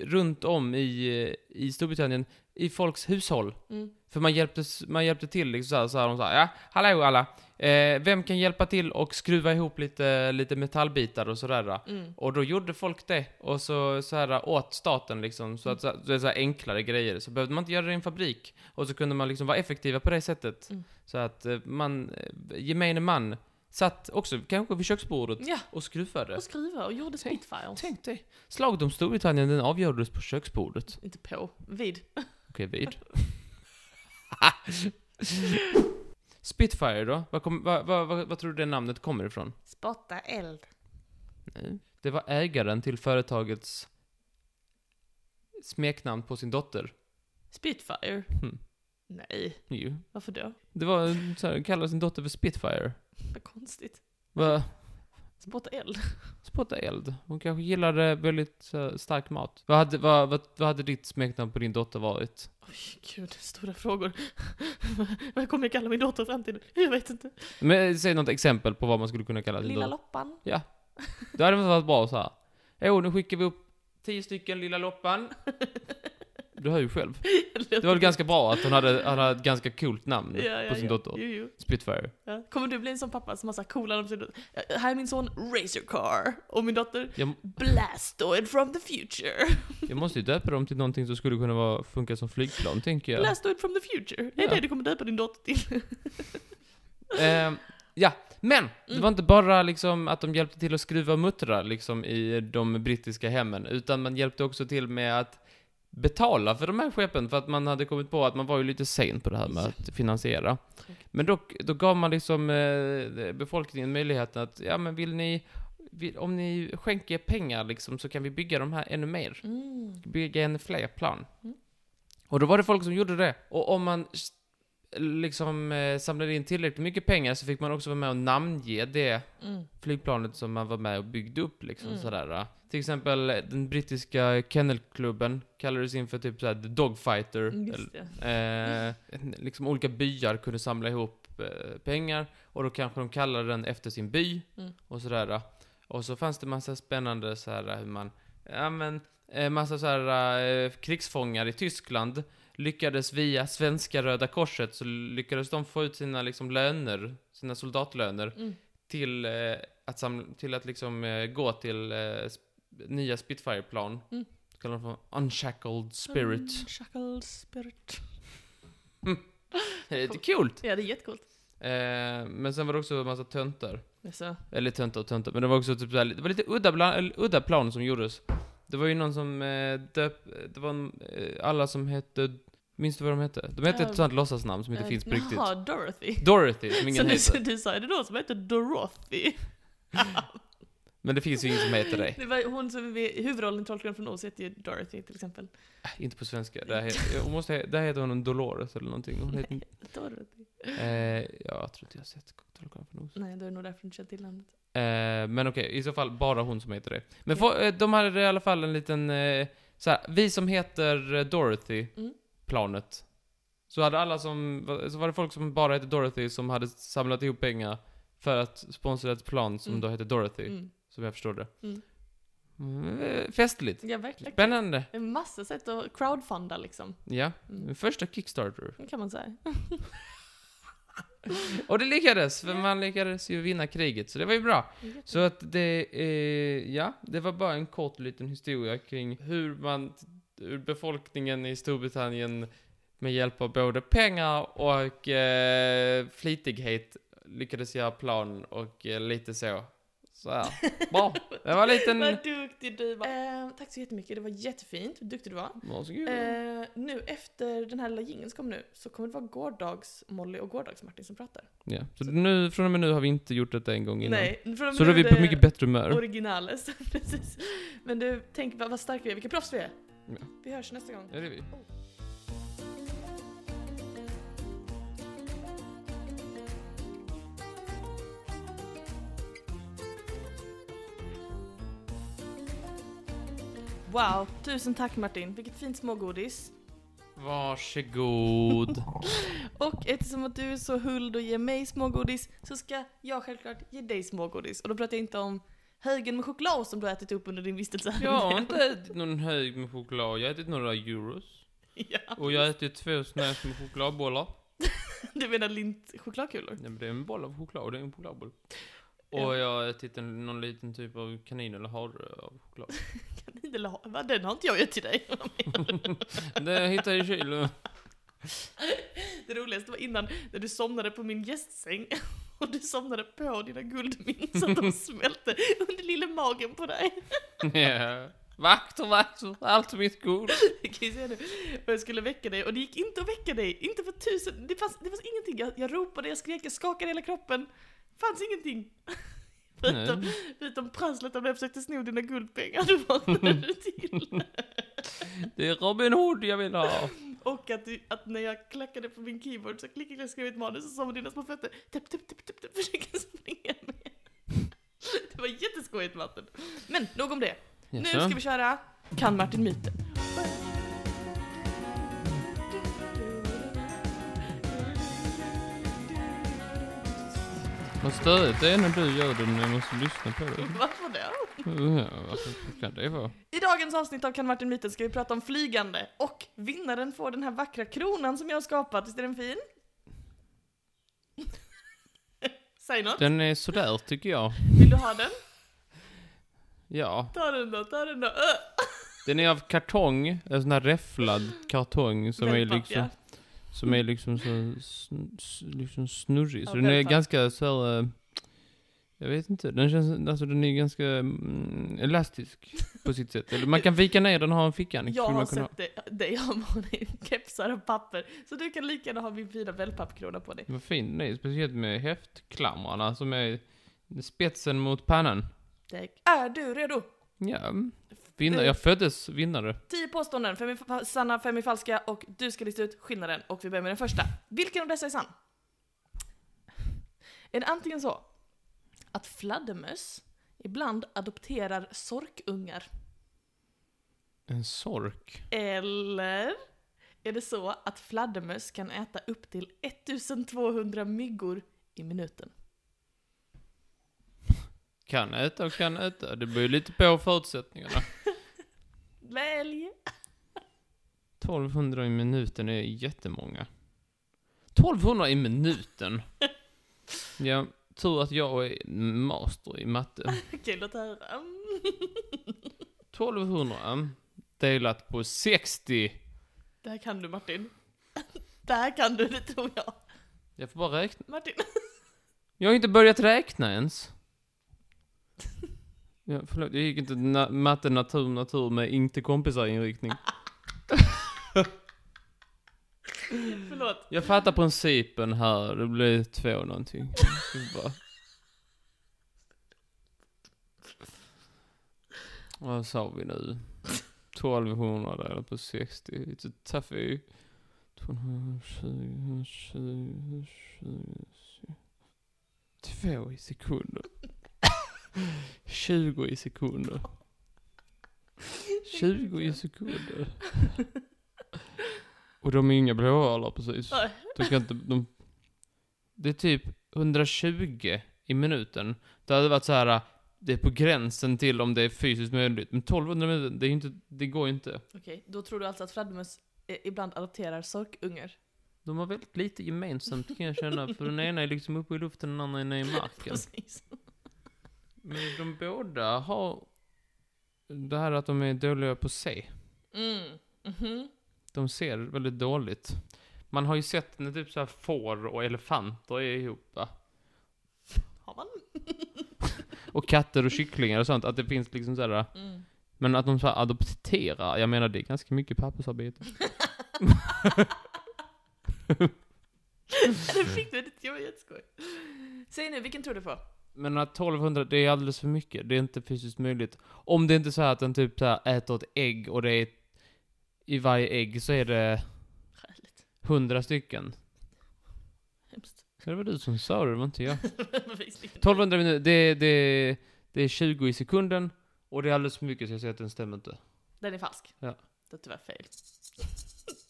runt om i, eh, i Storbritannien, i folks hushåll.
Mm.
För man hjälpte, man hjälpte till liksom så här, så här, de sa ja, hallå alla, eh, vem kan hjälpa till och skruva ihop lite, lite metallbitar och sådär?
Mm.
Och då gjorde folk det, och så, så här åt staten liksom, så att så, så, så här enklare grejer. Så behövde man inte göra det i en fabrik, och så kunde man liksom vara effektiva på det sättet.
Mm.
Så att eh, man, eh, gemene man, satt också kanske vid köksbordet
Ja,
och skruvade.
Mm. och skriva och gjorde Spitfires.
Tänk dig, slaget om Storbritannien den avgjordes på köksbordet.
Inte på, vid.
Okej, vid. Spitfire då? Vad, kom, vad, vad, vad, vad tror du det namnet kommer ifrån?
Spotta eld.
Nej. Det var ägaren till företagets smeknamn på sin dotter.
Spitfire?
Mm.
Nej,
Jo.
varför då?
Det var en så här, kallade sin dotter för Spitfire.
Vad konstigt.
Va?
Spotta eld.
Spotta eld. Hon kanske gillade väldigt så här, stark mat. Vad hade, vad, vad, vad hade ditt smeknamn på din dotter varit?
Oj, gud, stora frågor. Vad kommer jag kalla min dotter i framtiden? Jag vet inte.
Men, säg något exempel på vad man skulle kunna kalla din
Lilla
dotter.
Loppan.
Då hade det varit bra så här. Jo, nu skickar vi upp tio stycken lilla loppan. Du hör ju själv. Det var väl ganska bra att hon hade, han hade ett ganska coolt namn
Ja, ja,
på sin
ja.
dotter.
Jo, jo.
Spitfire.
Ja. Kommer du bli en sån pappa som har så här coola namn? till sin dotter? Ja, Här är min son Racer Car och min dotter
Jag,
Blastoid from the future.
jag måste ju döpa dem till någonting som skulle kunna vara, funka som flygplan, tänker jag.
Blastoid from the future. Det är
Ja.
det du kommer döpa din dotter till.
Ehm, ja, men det
Mm.
var inte bara liksom att de hjälpte till att skruva och muttra liksom, i de brittiska hemmen, utan man hjälpte också till med att betala för de här skeppen, för att man hade kommit på att man var ju lite sen på det här med att finansiera. Men då, då gav man liksom eh, befolkningen möjligheten att, ja men vill ni, vill, om ni skänker pengar liksom, så kan vi bygga de här ännu mer
Mm.
bygga en fler plan.
Mm.
Och då var det folk som gjorde det. Och om man s- liksom eh, samlade in tillräckligt mycket pengar så fick man också vara med och namnge det
Mm.
flygplanet som man var med och byggde upp liksom
Mm.
sådär. eh. Till exempel eh, den brittiska kennelklubben kallades in för typ såhär The Dogfighter.
Mm, Just det.
Eller, eh, liksom olika byar kunde samla ihop eh, pengar och då kanske de kallade den efter sin by
Mm.
och sådär. eh. Och så fanns det massa spännande såhär hur man, ja men, eh, massa såhär eh, krigsfångar i Tyskland lyckades via svenska Röda Korset så lyckades de få ut sina liksom löner, sina soldatlöner
Mm.
till eh, att, samla, till att liksom eh, gå till eh, sp- nya Spitfire-plan.
Mm.
Så kallar de för Unshackled Spirit.
Shackled Mm, spirit.
Det är lite kul.
Ja, det är jättecoolt.
Eh, men sen var det också en massa töntar.
Jaså?
Eller töntar och töntar, men det var också typ såhär, det var lite udda, bla, eller udda plan som gjordes. Det var ju någon som eh, döp, det var en, eh, alla som hette, minns du vad de hette? De hette
Ja.
ett sånt låtsasnamn som inte
Eh,
finns på riktigt.
Jaha, Dorothy.
Dorothy, som
Så
ingen
nu, så
heter.
du sa, är det någon som heter Dorothy?
Men det finns ju ingen som heter det.
Det var hon som i huvudrollen i Trollkarlen från Oz heter ju Dorothy till exempel.
Äh, inte på svenska. Där heter, hon måste, he- där heter hon Dolores eller någonting. Hon heter,
Dorothy.
eh, ja, jag tror inte jag har sett Trollkarlen från Oz.
Nej, då är det nog därför du inte känner till namnet.
Eh, men okej, i så fall bara hon som heter det. Men få- eh, de hade i alla fall en liten, eh, så här, vi som heter eh, Dorothy,
Mm.
planet. Så hade alla som, så var det folk som bara hette Dorothy som hade samlat ihop pengar för att sponsra ett plan som
Mm.
då hette Dorothy,
Mm.
som jag förstår det.
Mm.
Mm, eh, festligt.
Ja, verkligen.
Spännande.
Det är massa sätt att crowdfunda liksom.
Ja,
Mm.
första Kickstarter.
Det kan man säga.
Och det lyckades, för man lyckades ju vinna kriget, så det var ju bra. Så att det, eh, ja, det var bara en kort liten historia kring hur man, hur befolkningen i Storbritannien med hjälp av både pengar och eh, flitighet lyckades göra plan och eh, lite så. Så här. Bra. Det var en liten...
Vad duktig du var.
Eh, tack så jättemycket, det var jättefint. Vad duktig du var.
Varsågod.
Eh, nu efter den här lilla jingeln som kom nu så kommer det vara gårdags Molly och gårdags Martin som pratar.
Ja. Så nu, från och med nu har vi inte gjort detta en gång innan.
Nej, för de
Så då är vi på
det
mycket bättre humör.
Originales, precis. Men du, tänk vad, vad starka vi är, vilka proffs vi är.
Ja.
Vi hörs nästa gång.
Ja, det är vi.
Wow, tusen tack Martin. Vilket fint smågodis.
Varsågod.
Och eftersom att du är så huld och ger mig smågodis så ska jag självklart ge dig smågodis. Och då pratar jag inte om högen med choklad som du har ätit upp under din vistelse här.
Jag har inte ätit någon hög med choklad. Jag har ätit några euros.
Ja,
Och jag har ätit två såna här små chokladbollar.
du menar lint chokladkulor?
Nej, men det är en boll av choklad och det är en chokladboll.
Ja.
Och jag har ätit en, någon liten typ av kanin eller hare av choklad.
Kanin eller ha- va? Den har inte jag gett till dig.
Det hittade jag i kylen.
Det roligaste var innan när du somnade på min gästsäng och du somnade på dina guldmynt så att de smälte under lilla magen på dig.
Ja. Vakter, vakter, allt mitt guld.
Det kan jag säga nu. Och jag skulle väcka dig och det gick inte att väcka dig. Inte för tusen. Det fanns, det fanns ingenting. Jag, jag ropade, jag skrek, jag skakade hela kroppen. Det fanns ingenting. Förutom,
Nej.
förutom prasslet om jag försökte sno dina guldpengar. Då vaknade du till.
Det är Robin Hood jag vill ha.
Och att, du, att när jag klackade på min keyboard så klickade jag skrev ett manus och så med dina små fötter tapp, tapp, tapp, tapp, tapp, försöker springa med. Det var jätteskojigt Martin. Men nog om det. Nu
Jaså?
ska vi köra Kan Martin myten?
Vad stödigt det är när du gör det, men jag måste lyssna på det.
Varför det?
Ja, Varför kan det vara?
I dagens avsnitt av Kan Martin myten ska vi prata om flygande och vinnaren får den här vackra kronan som jag har skapat. Visst är den fin? Säg något.
Den är sådär tycker jag.
Vill du ha den?
Ja.
Ta den då, ta den då. Öh!
Den är av kartong, en sån här räfflad kartong som är
Wellpapp,
liksom,
ja.
som är liksom så, sn- s- liksom snurrig. Så
Mm.
den
Ja,
är
wellpapp.
ganska så här, eh, jag vet inte, den känns, alltså den är ganska mm, elastisk på sitt sätt. Eller man kan vika ner den och ha en ficka.
Jag
skulle
har
man kunna ha.
sett dig- dig ha på dig kepsar och papper, så du kan lika gärna ha min fina wellpappkrona på dig.
Vad fin den är, speciellt med häftklamrarna som är spetsen mot pannan.
Tack. Är du redo?
Ja, vinnare,
Eh.
jag föddes vinnare.
10 påståenden, fem är fa- sanna, fem är falska och du ska lista ut skillnaden. Och vi börjar med den första. Vilken av dessa är sann? Är det antingen så att fladdermöss ibland adopterar sorkungar?
En sork.
Eller är det så att fladdermöss kan äta upp till 1200 myggor i minuten?
Kan äta och kan äta, det beror ju lite på förutsättningarna.
Välj!
1200 i minuten är jättemånga. 1200 i minuten? Ja, tur att jag är master i matte.
Okej, låt höra.
1200 delat på 60.
Det här kan du Martin. Det här kan du, det tror jag.
Jag får bara räkna.
Martin.
Jag har inte börjat räkna ens. Ja, förlåt, jag gick inte na- matte, natur, natur med inte kompisar inriktning.
Förlåt.
Jag fattar principen här, det blir två någonting. Bara- Vad sa vi nu? 1200 delat på 60, it's a toughie. 220, 20, 20, 2 i sekunder. 20 i sekunder. 20 i sekunder. Och de är inga blåölar precis.
Nej.
De kan inte, de, det är typ 120 i minuten. Det hade varit så här. det är på gränsen till om det är fysiskt möjligt. Men 1200 minuter, det, är ju inte, det går ju inte.
Okej, då tror du alltså att fladdermöss eh, ibland adopterar sorkungar?
De har väldigt lite gemensamt kan jag känna, för den ena är liksom uppe i luften och den andra är nere i marken.
Precis.
Men de båda har det här att de är dåliga på C.
Mm. Mhm.
De ser väldigt dåligt. Man har ju sett när typ så här får och elefanter är ihop va?
Har man?
Och katter och kycklingar och sånt, att det finns liksom så här.
Mm.
Men att de så här adopterar, jag menar det är ganska mycket pappersarbete.
det fick du, det var jätteskoj. Säg nu, vilken tror du på?
Men att 1200, det är alldeles för mycket. Det är inte fysiskt möjligt. Om det inte är så här att den typ så här äter ett ägg och det är... I varje ägg så är det
Skäligt.
100 stycken.
Hemskt.
Så det var du som sa det, det var inte jag.
Men visst.
1200 minuter, det, det, det är 20 i sekunden. Och det är alldeles för mycket så jag säger att den stämmer inte.
Den är falsk.
Ja.
Det är tyvärr fel.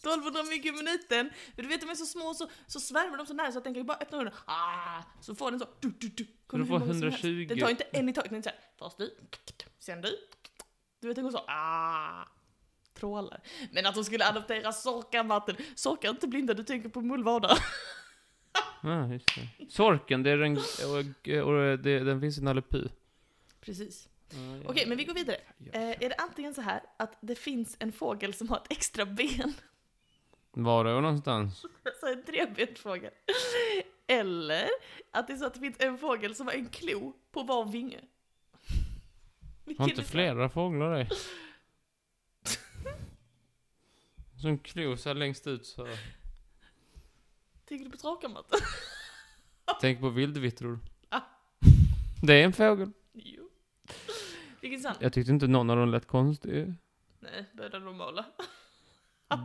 1200 mygg i minuten. Men du vet de är så små så, så svärmar de så nära så att den kan ju bara öppna munnen. Ah, så får den så. Du, du, du. Kommer
Du
hur
får
många som helst.
120.
Den tar inte en i taget. Den är såhär. Först du. Sen du. Du vet den går så. Ah. Trålar. Men att de skulle adoptera sorkar Martin. Sorkar är inte blinda. Du tänker på mullvadar.
Ja, just det. Sorken, det är den... Och, och det, den finns i Nalle Puh.
Precis. Okej, men vi går vidare.
Ja.
Eh, är det antingen så här att det finns en fågel som har ett extra ben.
Var är jag någonstans?
Alltså en trebent fågel. Eller att det är så att det finns en fågel som har en klo på var vinge. Vilken
Har
är
inte
det?
flera fåglar det? Som klosar längst ut så. här.
Tänker du på trakamattan?
Tänk på vildvittror.
Ah.
Det är en fågel.
Jo. Vilken sann?
Jag tyckte inte någon av dem lät konstig.
Nej, båda normala.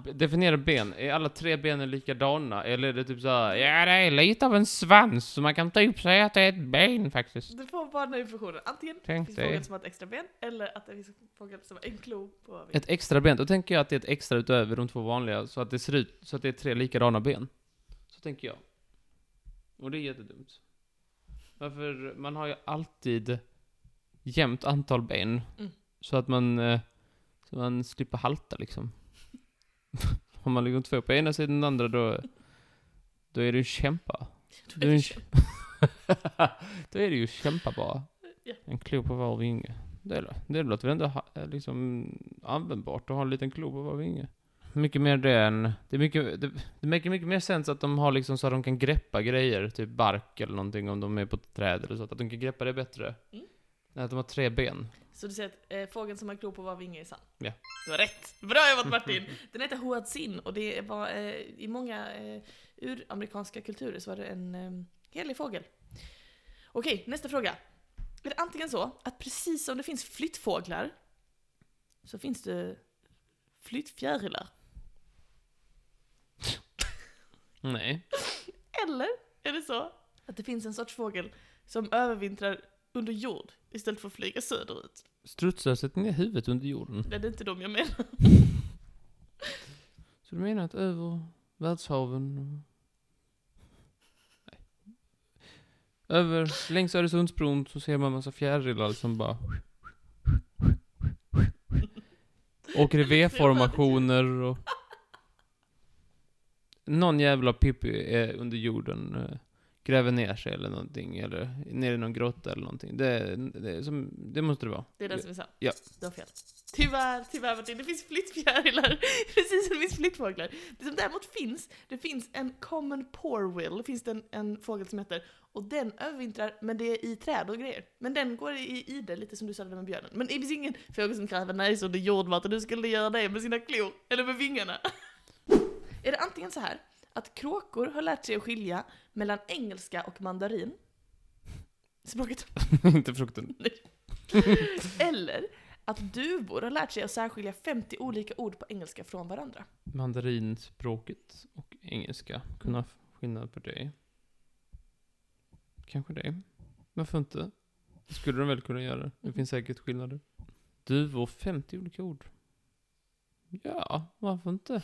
B- Definiera ben. Är alla tre benen likadana? Eller är det typ så här, ja det är lite av en svans, så man kan typ säga att det är ett ben faktiskt.
Du får bara den här informationen. Antingen
Tänk
finns det en fågel
dig.
som har ett extra ben, eller att det finns en fågel som har en klo på var vinge.
Ett extra ben, då tänker jag att det är ett extra utöver de två vanliga, så att det ser ut, så att det är tre likadana ben. Så tänker jag. Och det är jättedumt. Varför, man har ju alltid jämnt antal ben.
Mm.
Så att man, eh, så man slipper halta liksom. Har man liksom två på ena sidan och den andra då, då är det ju kämpa. Du är en kämpa. då är det ju kämpa bara.
Ja.
En klo på var vinge. Det, lå- det låter väl ändå ha, eh, liksom användbart att ha en liten klo på var vinge. Mycket mer det än... Det, är mycket, det, det märker mycket mer sens att de har liksom så att de kan greppa grejer, typ bark eller någonting om de är på ett träd eller så, att de kan greppa det bättre.
Mm.
Än att de har tre ben.
Så du säger att eh, fågeln som har klo på var vinge är sann?
Ja.
Du har rätt! Bra jobbat Martin! Den heter Hoatzin och det var eh, i många eh, uramerikanska kulturer så var det en eh, helig fågel. Okej, nästa fråga. Är det antingen så att precis som det finns flyttfåglar så finns det flyttfjärilar?
Nej.
Eller är det så att det finns en sorts fågel som övervintrar under jord istället för att flyga söderut?
Strutsar sätter ner huvudet under jorden.
Det är inte de jag menar.
Så du menar att över världshaven och... Nej. Över, längs Öresundsbron så ser man massa fjärilar som bara... Åker i V-formationer och... Någon jävla Pippi är under jorden, eh, gräver ner sig eller någonting, eller ner i någon grotta eller någonting. Det, det, är som, det måste det vara.
Det är den som är sann.
Ja.
Du har fel. Tyvärr, tyvärr Martin, det finns flyttfjärilar. Precis som det finns flyttfåglar. Det som däremot finns, det finns en common porwill, finns det en, en fågel som heter. Och den övervintrar, men det är i träd och grejer. Men den går i, i det, lite som du sa där med björnen. Men det finns ingen fågel som kräver näsor under jord Martin, hur skulle göra det med sina klor? Eller med vingarna? är det antingen så här att kråkor har lärt sig att skilja mellan engelska och mandarin? Språket
Inte frukten.
eller att duvor har lärt sig att särskilja 50 olika ord på engelska från varandra.
mandarinspråket och engelska kunna f- skillnad på det? Kanske det. Varför inte? Det skulle de väl kunna göra. Det finns säkert skillnader. Duvor, 50 olika ord. Ja, varför inte?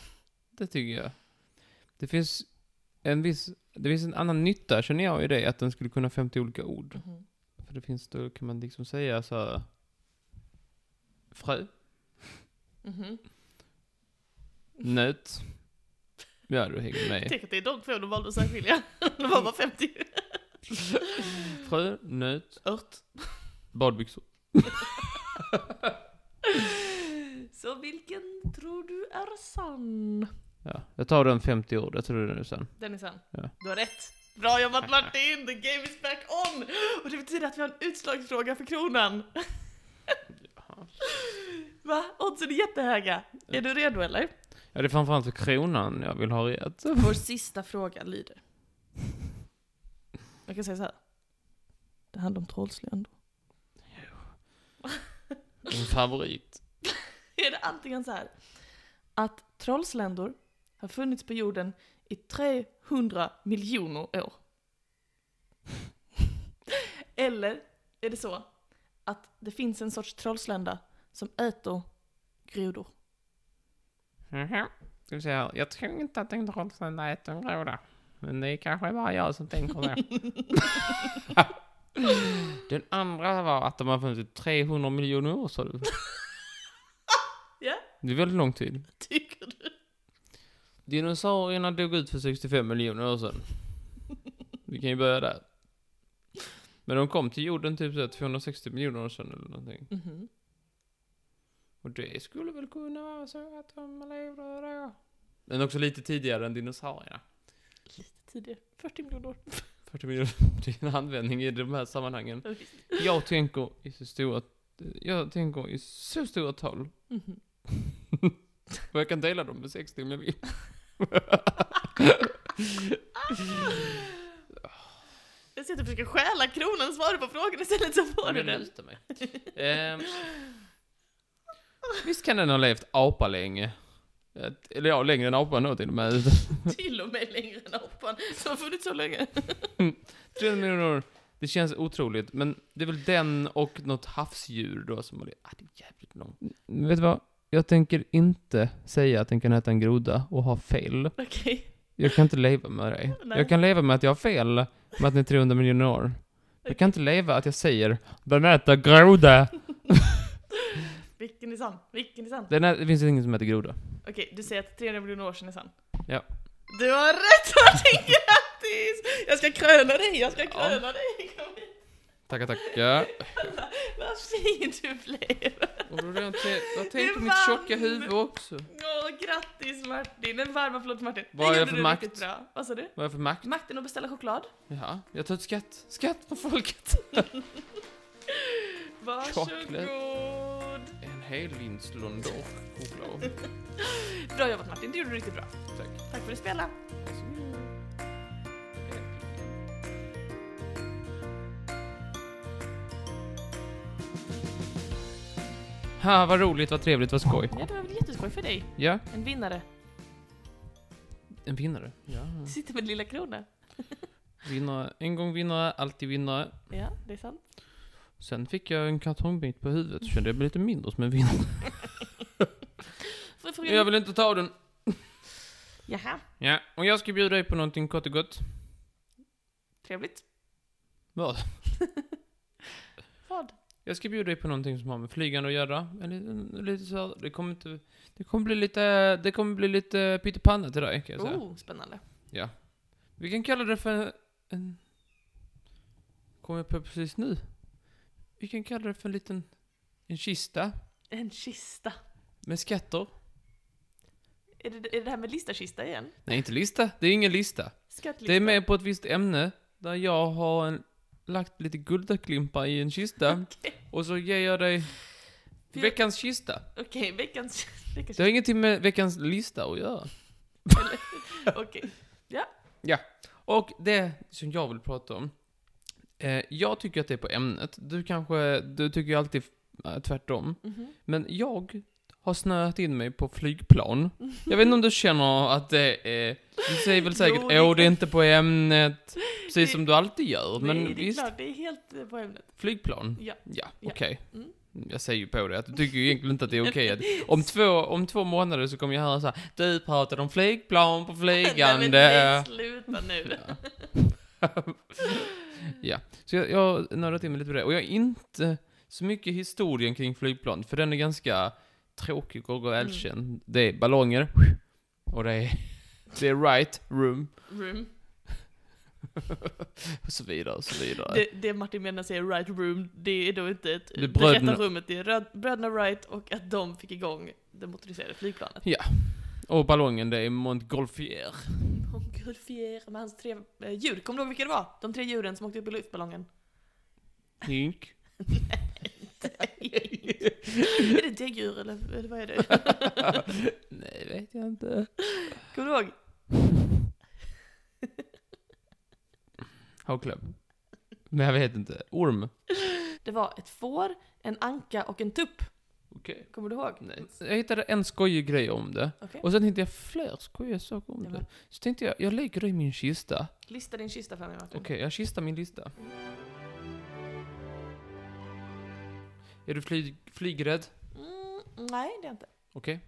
Det tycker jag. Det finns en viss, det finns en annan nytta känner jag i det, att den skulle kunna 50 olika ord.
Mhm.
För det finns då, kan man liksom säga så här, frö,
Mhm.
nöt. Ja, du hänger med.
Tänk att det är de två de valde att särskilja. De var bara 50.
Frö, nöt,
Ört.
badbyxor.
Så vilken tror du är sann?
Jag tar den 50 ord, jag tror det är nu sen.
Den är sann.
Ja.
Du har rätt. Bra jobbat Martin! The game is back on! Och det betyder att vi har en utslagsfråga för kronan. Va? Oddsen är jättehöga. Är du redo eller?
Ja, det är framförallt för kronan jag vill ha rätt.
Vår sista fråga lyder. Jag kan säga så här. Det handlar om trollslön.
Min favorit.
är det antingen så här att trollsländor har funnits på jorden i 300 miljoner år. Eller är det så att det finns en sorts trollslända som äter grodor?
Mhm. Ska vi se här. Jag tror inte att en trollslända äter en groda. Men det är kanske bara jag som tänker det. Den andra var att de har funnits i 300 miljoner år, sa du.
Ja,
Det är väldigt lång tid.
tycker du?
Dinosaurierna dog ut för 65 miljoner år sedan. Vi kan ju börja där. Men de kom till jorden typ så här 260 miljoner år sedan eller någonting.
Mhm.
Och det skulle väl kunna vara så att de levde då. Men också lite tidigare än dinosaurierna.
Lite tidigare. 40 miljoner år.
40 miljoner till en användning i de här sammanhangen. Jag tänker i så stora, jag tänker i så stora tal.
Mhm.
Och jag kan dela dem med 60 om jag vill.
Jag sitter och försöker stjäla kronan svarar på frågan istället så får du
Men
den.
luta mig. Ehm, visst kan den ha levt apa länge? Ett- Eller ja, längre än apan då till och med.
Till och med längre än apan som har funnits så länge.
300 miljoner år. Det känns otroligt, men det är väl den och något havsdjur då som har levt. Ah, det är jävligt långt. Vet du vad? Jag tänker inte säga att den kan äta en groda och ha fel.
Okej.
Jag kan inte leva med dig.
Nej.
Jag kan leva med att jag har fel med att ni är 300 miljoner år. Jag kan inte leva att jag säger den äter groda.
Vilken är sann? Vilken är sann?
Den är, det finns ingen som äter groda.
Okej, du säger att 300 miljoner år sedan är sann.
Ja.
Du har rätt Martin, grattis! Jag ska kröna dig, jag ska
Ja.
kröna dig! Kom hit.
Tackar, tackar.
Kolla, Vad fin du blev!
Och då har jag inte- jag har
Det
tänkt på mitt
vann.
tjocka huvud också.
Åh, grattis Martin! En varm applåd till Martin.
Vad har jag
Det gjorde
för
du
makt?
riktigt Bra. Vad sa du?
Vad är jag för makt?
Makten att beställa choklad.
Ja, jag tar ut skatt. Skatt på folket.
Varsågod!
En hel vinslondor choklad.
Bra jobbat Martin, det gjorde du riktigt bra.
Tack.
Tack för att du spelade.
Ha, vad roligt, vad trevligt, vad skoj.
Ja, det var väl jätteskoj för dig.
Ja,
En vinnare.
en vinnare. Ja.
Du sitter med lilla krona.
Vinnare, en gång vinnare, alltid vinnare.
Ja, det är sant.
Sen fick jag en kartongbit på huvudet, kände jag blev lite mindre som en vinnare.
Får jag fråga
Jag vill inte ta den.
Jaha,
Ja, och jag ska bjuda dig på någonting kort och gott.
trevligt.
Vad?
Vad?
Jag ska bjuda dig på någonting som har med flygande att göra. En liten, lite så här, det kommer inte... Det kommer bli lite... Det kommer bli lite pyttipanna till dig, kan jag säga.
Oh, spännande.
Ja. Vi kan kalla det för en... en kommer jag på precis nu? Vi kan kalla det för en liten... En kista.
En kista.
Med skatter.
Är det, är det här med listakista igen?
Nej, inte lista. Det är ingen lista.
Skattlista?
Det är med på ett visst ämne. Där jag har en, lagt lite guldklimpar i en kista. Och så ger jag dig...
För jag-
Veckans kista.
Okej, veckans... veckans
Det har ingenting med veckans lista att göra.
Okej.
Och det som jag vill prata om. Eh, jag tycker att det är på ämnet. Du kanske, du tycker ju alltid eh, tvärtom.
Mhm.
Men jag har snöat in mig på flygplan. Jag vet inte om du känner att det är... Du säger väl säkert
Jo, det är
åh det är
klart."
inte på ämnet. Precis som du alltid gör.
Nej,
Men
det är
visst,
klart, det är helt eh, på ämnet.
flygplan.
Ja.
Ja,
Ja.
okej.
Mm.
Jag säger ju på det, att jag tycker ju egentligen inte att det är okej att om två, om två månader så kommer jag höra så här, du pratade om flygplan på
Nej, men
flygande.
nej, sluta nu.
Ja. ja, så jag, jag har nördat in mig lite på det. Och jag är inte så mycket historien kring flygplan, för den är ganska tråkig och
Mm.
välkänd. Det är ballonger, och det är, det är right room,
Room.
och så vidare, och så vidare.
Det, det Martin menar säger right room, det är då inte ett,
Det är
det rätta
bröderna-
rummet, det är röd- bröderna Wright och att de fick igång det motoriserade flygplanet.
Ja. Och ballongen, det är Montgolfier.
Montgolfier med hans tre eh, djur. Kommer du ihåg vilka det var? De tre djuren som åkte upp i luftballongen.
Hink.
är det däggdjur eller, eller vad är det?
Nej, vet jag inte.
Kommer du ihåg?
Hawklubb. Men jag vet inte. Orm.
Det var ett får, en anka och en tupp.
Okej.
Kommer du ihåg?
Jag hittade en skojig grej om det.
Okej.
Och sen hittade jag fler skojiga saker om
Ja,
det.
men.
Så tänkte jag, jag lägger det i min kista.
Lista din kista för mig Martin.
Okej, jag kistar min lista. Är du flyg, flygrädd?
Mm, nej, det är jag inte.
Okej.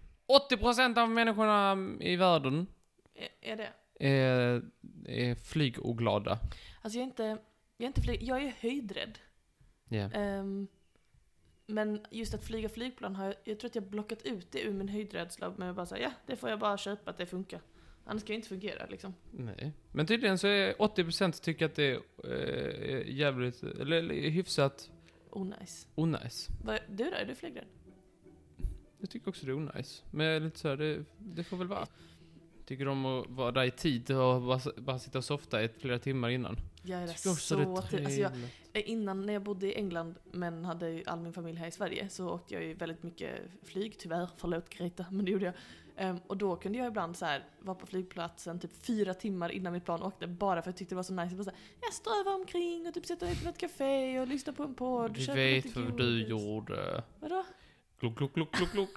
80% av människorna i världen
Är, är det?
är, är flygoglada.
Alltså jag är inte, jag är inte flyg, jag är höjdrädd.
Ja.
Ehm, men just att flyga flygplan har jag, jag tror att jag blockat ut det ur min höjdrädsla med att bara säga ja, det får jag bara köpa att det funkar. Annars ska det inte fungera liksom.
Nej. Men tydligen så är 80% tycker att det är eh, jävligt, eller, eller hyfsat
Oh nice.
onajs.
Vad- Du då, är du flygrädd?
Jag tycker också det är onajs. Men jag är lite så här, det, det får väl vara. Tycker om att vara där i tid och bara, bara sitta och softa i flera timmar innan.
Jag är
Tycker
så,
också det är
trevligt. Alltså jag,
trevligt.
eh, innan när jag bodde i England men hade ju all min familj här i Sverige så åkte jag ju väldigt mycket flyg, tyvärr. Förlåt Greta, men det gjorde jag. Ehm, och då kunde jag ibland så här, vara på flygplatsen typ fyra timmar innan mitt plan åkte bara för jag tyckte det var så nice. Jag, bara så här, jag strövar omkring och typ sätter mig på något café och lyssnar på en podd.
Vi
köper
vet
lite
vad du
godis.
gjorde.
Vadå?
Gluck, gluck, gluck, gluck, gluck.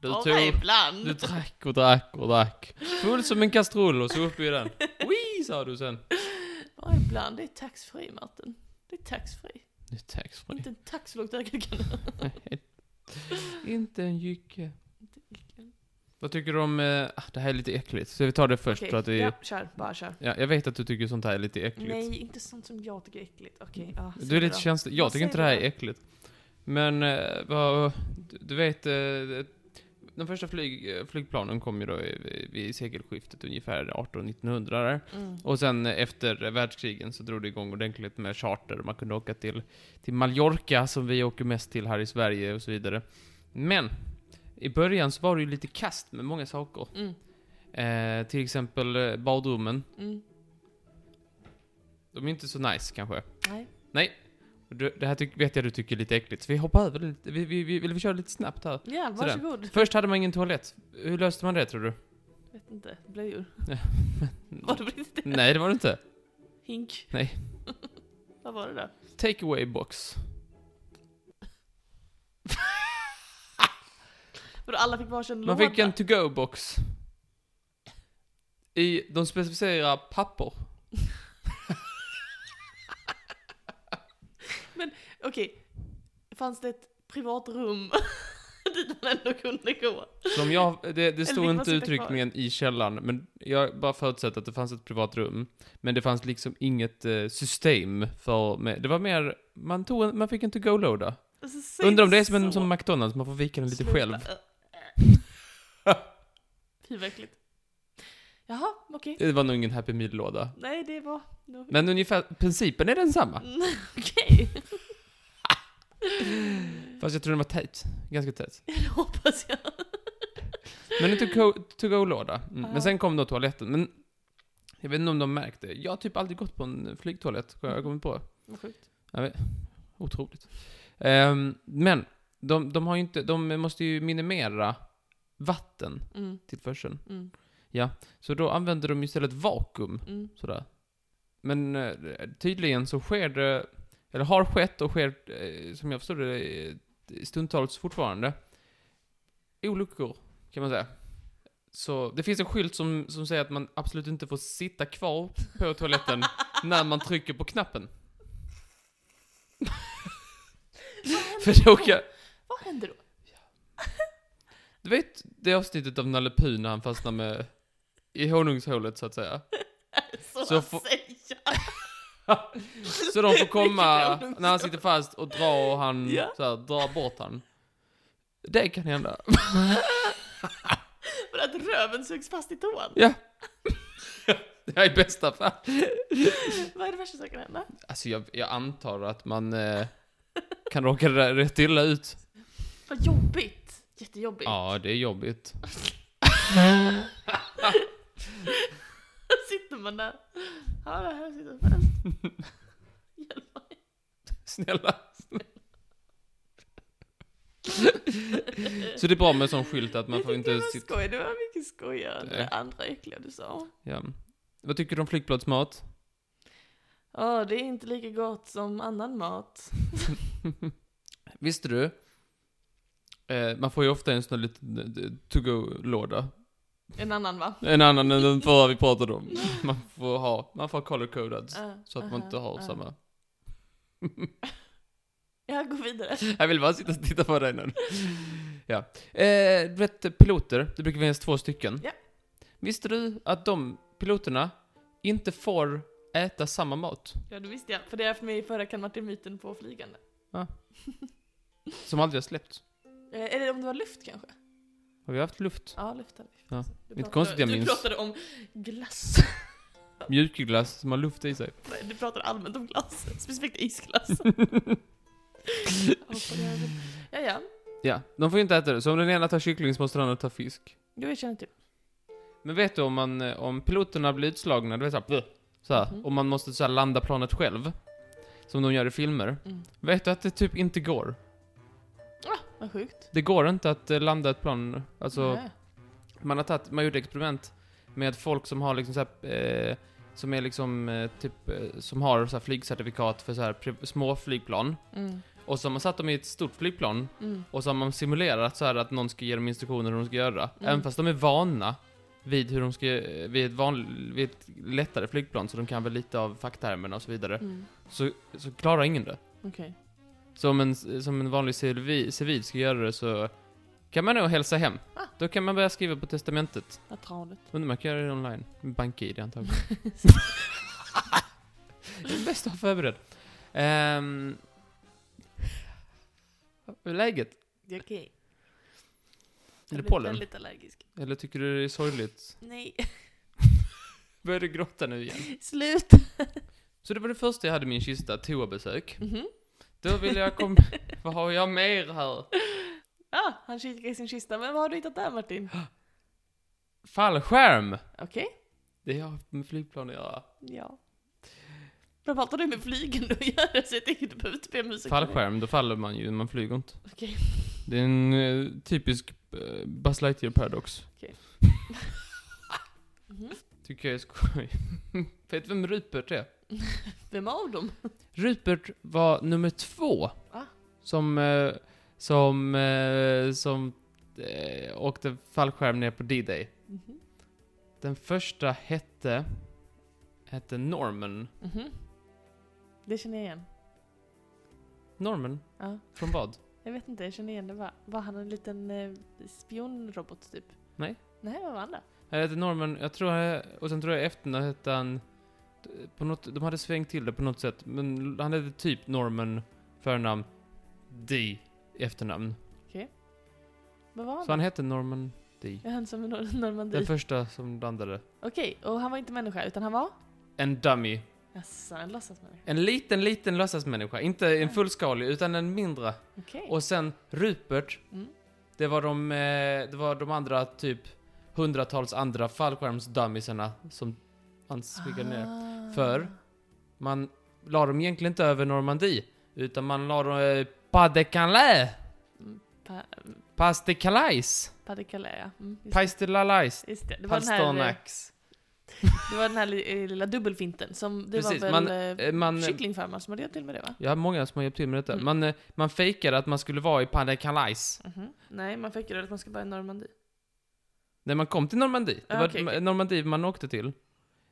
Du
Bara
tog,
ibland.
du drack och drack och drack. Full som en kastrull och så upp i den. Wii sa du sen.
Bara ibland. Det är taxfree Martin. Det är taxfree.
Det är taxfree.
Inte en tax så långt ögat kan
Inte en jycke. Vad tycker du om, eh, ah, det här är lite äckligt, så vi tar det först
Okej,
för att vi...
ja,
Ja.
kör. Bara kör.
jag vet att du tycker sånt här är lite äckligt.
Nej, inte sånt som jag tycker är äckligt. Okej. ah,
Du är
säg
lite
då.
känslig.
Vad
Jag tycker inte det
säger
här
du
är äckligt. Men, eh, vad, du- du vet, eh, de första flyg, eh, flygplanen kom ju då i- vid sekelskiftet ungefär 1800-1900 där.
Mm.
Och sen eh, efter världskrigen så drog det igång ordentligt med charter. Man kunde åka till, till Mallorca som vi åker mest till här i Sverige och så vidare. Men, i början så var det ju lite kast med många saker.
Mm.
Eh, till exempel eh, badrummen.
Mm.
De är inte så nice kanske.
Nej.
Du, det här tyck, vet jag du tycker är lite äckligt, så vi hoppar över det lite. Vi, vi, vi, eller vi kör lite snabbt här. Sådär.
Ja, varsågod.
Först hade man ingen toalett. Hur löste man det tror du?
Vet inte. Blöjor.
Ja,
Var det på riktigt?
Nej, det var det inte.
Hink?
Nej.
Vad var det då?
Take away box.
För alla fick varsin
Man
låda.
fick en to-go box. I, de specificerar papper.
Okej. Fanns det ett privat rum dit man ändå kunde gå?
Som jag, det, det
fick
stod
man
inte
sitta kvar?
uttryckligen i källan, men jag bara förutsatte att det fanns ett privat rum. Men det fanns liksom inget eh, system för, med, det var mer, man, tog en, man fick en to-go-låda.
Alltså, säg
Undrar om det är som
så.
en som McDonalds, man får vika den lite
Sluta.
själv.
Fy vad äckligt. Jaha, okej.
Det var nog ingen Happy Meal-låda.
Nej, det var... det var-
Men ungefär, principen är densamma.
Mm, Okej, Mm.
Fast jag tror den var tät. Ganska tät.
det hoppas jag.
Men en to-go- to-go-låda. Mm.
Ja.
Men sen kom då toaletten. Men jag vet inte om de märkte. Jag har typ aldrig gått på en flygtoalett, har jag kommit på.
Vad sjukt.
Otroligt. Ehm, men, de, de har ju inte, de måste ju minimera vatten
Mm,
tillförseln.
mm,
Så då använder de ju istället vakuum.
mm.
Sådär. Men eh, tydligen så sker det, eller har skett och sker, eh, som jag förstår det, eh, stundtals fortfarande, olyckor, kan man säga. Så det finns en skylt som, som säger att man absolut inte får sitta kvar på toaletten när man trycker på knappen. För då kan,
Vad händer då?
du vet det avsnittet av Nalle Puh när han fastnar med, i honungshålet så att säga.
Så,
Så
att
får-
säga.
Så de får komma
Vilket jävla
när han sitter fast och dra och han
Ja.
så här, drar bort han. Det kan hända.
För att röven sugs fast i tån.
Ja. Det här är bästa fall.
Vad är det värsta som kan hända?
Alltså jag, jag antar att man eh, kan råka r- rätt illa ut.
Vad jobbigt. Jättejobbigt.
Ja, det är jobbigt.
sitter man där. Ja, det här sitter fast. Hjälp mig.
Snälla. Så det är bra med en sån skylt att man
Jag
får
tyckte
inte
det var
sitta...
skoj, det var mycket skojigare än
Nej.
det andra äckliga du sa.
Ja. Vad tycker du om flygplatsmat?
Ja, det är inte lika gott som annan mat.
Visste du? Eh, man får ju ofta en sån här liten eh, to-go-låda.
En annan va?
En annan än den förra vi pratade om. Man får ha, man får ha color-coded.
Ja,
Så att man
aha,
inte har
ja.
samma.
Jag går vidare.
Jag vill bara sitta och titta på dig nu. Ja. Eh, du vet, piloter, det brukar finnas två stycken.
Ja.
Visste du att de piloterna inte får äta samma mat?
Ja, det visste jag. För det är för mig förra kan Martin-myten på flygande.
Som aldrig har släppts.
Eh, Eller om det var luft kanske?
Har vi haft luft?
Ja, luft hade vi.
Ja,
Du pratade-
konstigt jag
du
minns.
pratade om glass.
Mjukglass som har luft i sig.
Nej, Du pratar allmänt om glass. Specifikt isglass. Hoppade jag över. ja, ja.
Ja, de får ju inte äta det. Så om den ena tar kyckling så måste den andra ta fisk.
Jo, jag känner typ- till.
Men vet du om man, eh, om piloterna blir utslagna, du vet såhär, såhär
Mhm.
och man måste såhär landa planet själv. Som de gör i filmer.
Mm.
Vet du att det typ inte går?
Vad sjukt.
Det går inte att eh, landa ett plan, alltså
Nej.
man har tagit, man gjorde experiment med folk som har liksom såhär, eh, som är liksom eh, typ, eh, som har såhär flygcertifikat för såhär pri- små flygplan.
Mm.
Och så har man satt dem i ett stort flygplan
Mm.
Och så har man simulerat så här att någon ska ge dem instruktioner hur de ska göra.
Mm.
Även fast de är vana vid hur de ska, vid ett, van, vid ett lättare flygplan så de kan väl lite av facktermerna och så vidare.
Mm.
Så, så klarar ingen det.
Okej.
Så om en, som en vanlig civil, civil ska göra det så kan man nog hälsa hem.
Ah.
Då kan man börja skriva på testamentet.
Vad tradigt.
Undrar om man kan göra det online. Med BankID antagligen. det är bäst att ha förberedd. Um, hur är läget?
Det är okej.
Är det
Jag blev
pollen?
väldigt allergisk.
Eller tycker du det är sorgligt?
Nej,
Börjar du gråta nu igen?
slut!
Så det var det första jag hade i min kista, toabesök.
Mhm.
Då ville jag kom... Vad har jag mer här?
Ja, Ah, han kikar i sin kista. Men vad har du hittat där Martin?
Fallskärm!
Okej.
Det har haft med flygplan att göra.
Ja. Vad pratar du med flygen du gör? Så jag tänker du behöver inte be om ursäkt.
Fallskärm, då faller man ju, man flyger inte.
Okej.
Det är en eh, typisk eh, Buzz Lightyear paradox.
Mhm.
Tycker jag är skoj. Vet du vem Rupert är?
Vem av dem?
Rupert var nummer två.
Va?
Som, eh, som, eh, som eh, åkte fallskärm ner på D-Day.
Mhm.
Den första hette, hette Norman.
Mhm. Det känner jag igen.
Norman?
Ja.
Från vad?
Jag vet inte, jag känner igen det. Var, var han en liten eh, spionrobot typ?
Nej.
Nej, vad var han då?
Han hette Norman, jag tror han, och sen tror jag efter när hette han, på något, de hade svängt till det på något sätt, men han hette typ Norman förnamn, D efternamn.
Vad var han?
Så han hette Norman D.
Är han som en nor- Normandie?
Den första som landade.
Okej, och han var inte människa utan han var?
En dummy.
Jaså, en låtsasmänniska.
En liten, liten låtsasmänniska. Inte en fullskalig, utan en mindre.
Okej.
Och sen Rupert,
Mm.
det var de, eh, det var de andra typ hundratals andra fallskärmsdummisarna som han skickade ner.
Ah.
För- Man la dem egentligen inte över Normandie, utan man la dem... Eh, pas de Calais!
Mm, Pa-
Pas de Calais!
Pas de Calais, ja. Mm, just,
Pas de la Lais!
just det. Det var, den här, eh,
Pasternax.
det var den här li- eh, lilla dubbelfinten som, det
Precis,
var väl
man-
man,
eh, man-
kycklingfarmaren som hade hjälpt till med det va?
Jag har många som har hjälpt till med detta.
Mm.
Man, eh, man fejkade att man skulle vara i Pas de Calais.
Mhm. Nej, man fick ju reda på att man ska bara i Normandie.
När man kom till Normandie. Det
Ah,
var
okej, okej.
Normandie man åkte till.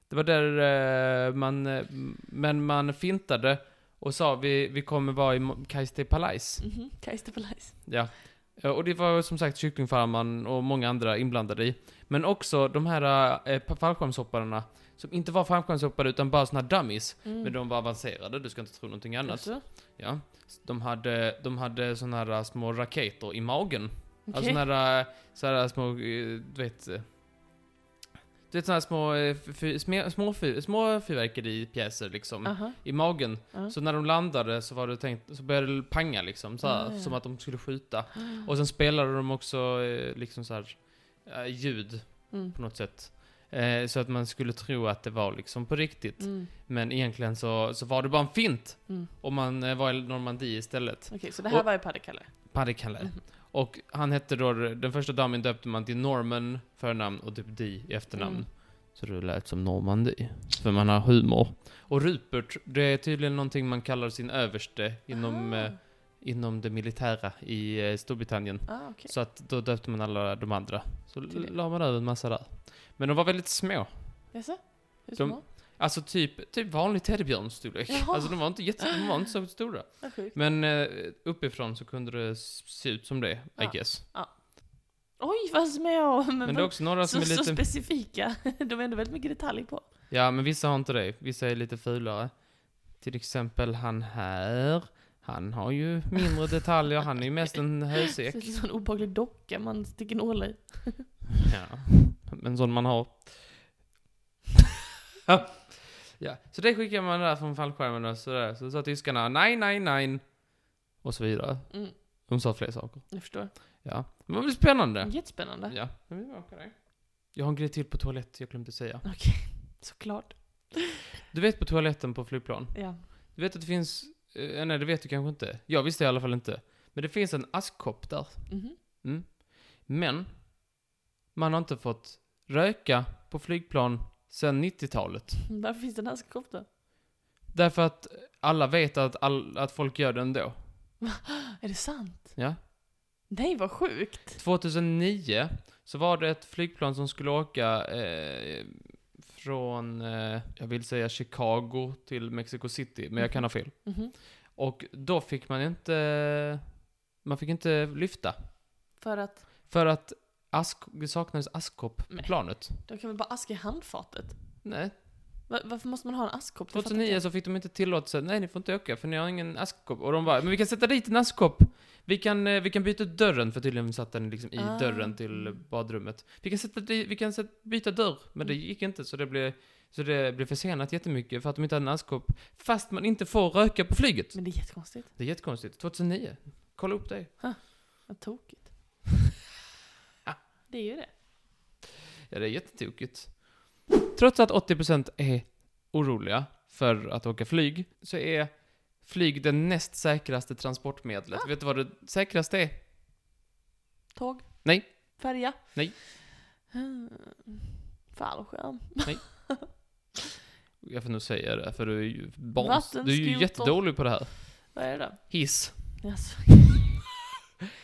Det var där eh, man... eh, m- Men man fintade och sa vi, vi kommer vara i Mo- Kais de Palais.
Mhm. Kajsa Palais.
Ja. Eh, Och det var som sagt kycklingfarmaren och många andra inblandade i. Men också de här eh, pa- fallskärmshopparna, som inte var fallskärmshoppare utan bara såna här dummies.
Mm.
Men de var avancerade, du ska inte tro någonting annat.
Alltså,
Ja. De hade, de hade såna här äh, små raketer i magen. Alltså
okej.
såna här, eh, så här små, eh, du vet... eh, Du vet såna här små, eh, fy- små, små, fy- små fyrverkeripjäser liksom.
Aha.
I magen.
Ja.
Så när de landade så var det tänkt, så började det panga liksom. Så här,
Ah, ja.
Som att de skulle skjuta. Och sen spelade de också eh, äh, liksom så här eh, ljud
Mm.
på något sätt. Eh, så att man skulle tro att det var liksom på riktigt.
Mm.
Men egentligen så, så var det bara en fint.
Mm.
Och man eh, var i Normandie istället.
Okej, så det här
Och-
var ju Padde Kalle.
Paddykalle.
Mhm.
Och han hette då, den första damen döpte man till Norman förnamn och typ Di i efternamn.
Mm.
Så det lät som Normandie. För man har humor. Och Rupert, det är tydligen någonting man kallar sin överste inom,
Aha.
eh, inom det militära i eh, Storbritannien.
Ah, okej.
Så att då döpte man alla de andra. Så
Till det.
la man över en massa där. Men de var väldigt små.
Jaså?
De-
Hur små?
Alltså typ, typ vanlig teddybjörnsstorlek.
Jaha.
Alltså de var inte jätte, de var inte så stora.
Vad sjukt.
Men eh, uppifrån så kunde det s- se ut som det, I
Ja.
guess.
Oj, vad små! Men,
Men det är
vad-
också några som
så,
är
så
lite...
specifika. De är ändå väldigt mycket detalj på.
Ja, men vissa har inte det. Vissa är lite fulare. Till exempel han här. Han har ju mindre detaljer. Han är ju mest en
Så
hösäck.
det är en sån obehaglig docka man sticker nålar i.
Ja. En sån man har. ja. Så det skickar man där från fallskärmen och sådär. Så sa tyskarna nej, nej, nej. Och så vidare.
Mm,
De sa fler saker.
jag förstår.
Ja. Men det var väl spännande.
Jättespännande.
Ja. Men vi åker det. Jag har en grej till på toalett jag glömde säga.
Okej, såklart.
Du vet på toaletten på flygplan?
Ja.
Du vet att det finns... eh, nej, det vet du kanske inte. Jag visste i alla fall inte. Men det finns en askkopp där.
Mhm.
Men, man har inte fått röka på flygplan sedan 90-talet.
Varför finns det en askkopp då?
Därför att alla vet att, all, att folk gör det ändå.
Är det sant?
Ja.
Nej, vad sjukt!
2009 så var det ett flygplan som skulle åka eh, från, eh, jag vill säga Chicago till Mexico City, men jag kan ha fel.
Mhm.
Och då fick man inte, man fick inte lyfta.
För att
För att ask, det saknades askkopp på
Nej.
planet.
de kan väl bara aska i handfatet?
Nej,
Va- varför måste man ha en askkopp? Jag fattar
2009
inte.
så fick de inte tillåtelse. Nej, ni får inte öka för ni har ingen askkopp. Och de bara, men vi kan sätta dit en askkopp. Vi kan, eh, vi kan byta ut dörren, för tydligen satt den liksom i
Ah.
dörren till badrummet. Vi kan, sätta dit, vi kan sätta, byta dörr, men det
Mm.
gick inte så det blev, så det blev försenat jättemycket för att de inte hade en askkopp. Fast man inte får röka på flyget.
Men det är jättekonstigt.
Det är jättekonstigt. 2009. Kolla upp det.
Vad tokigt.
Ja.
Det är ju det.
Ja, det är jättetokigt. Trots att 80% är oroliga för att åka flyg, så är flyg det näst säkraste transportmedlet. Vet du vad det säkraste är?
Tåg?
Nej.
Färja?
Nej.
Mm. Fallskärm?
Jag får nog säga det, för du är ju barns...
Vattenskoter.
Du är ju jättedålig på det här.
Vad är det
Hiss.
då? Jaså,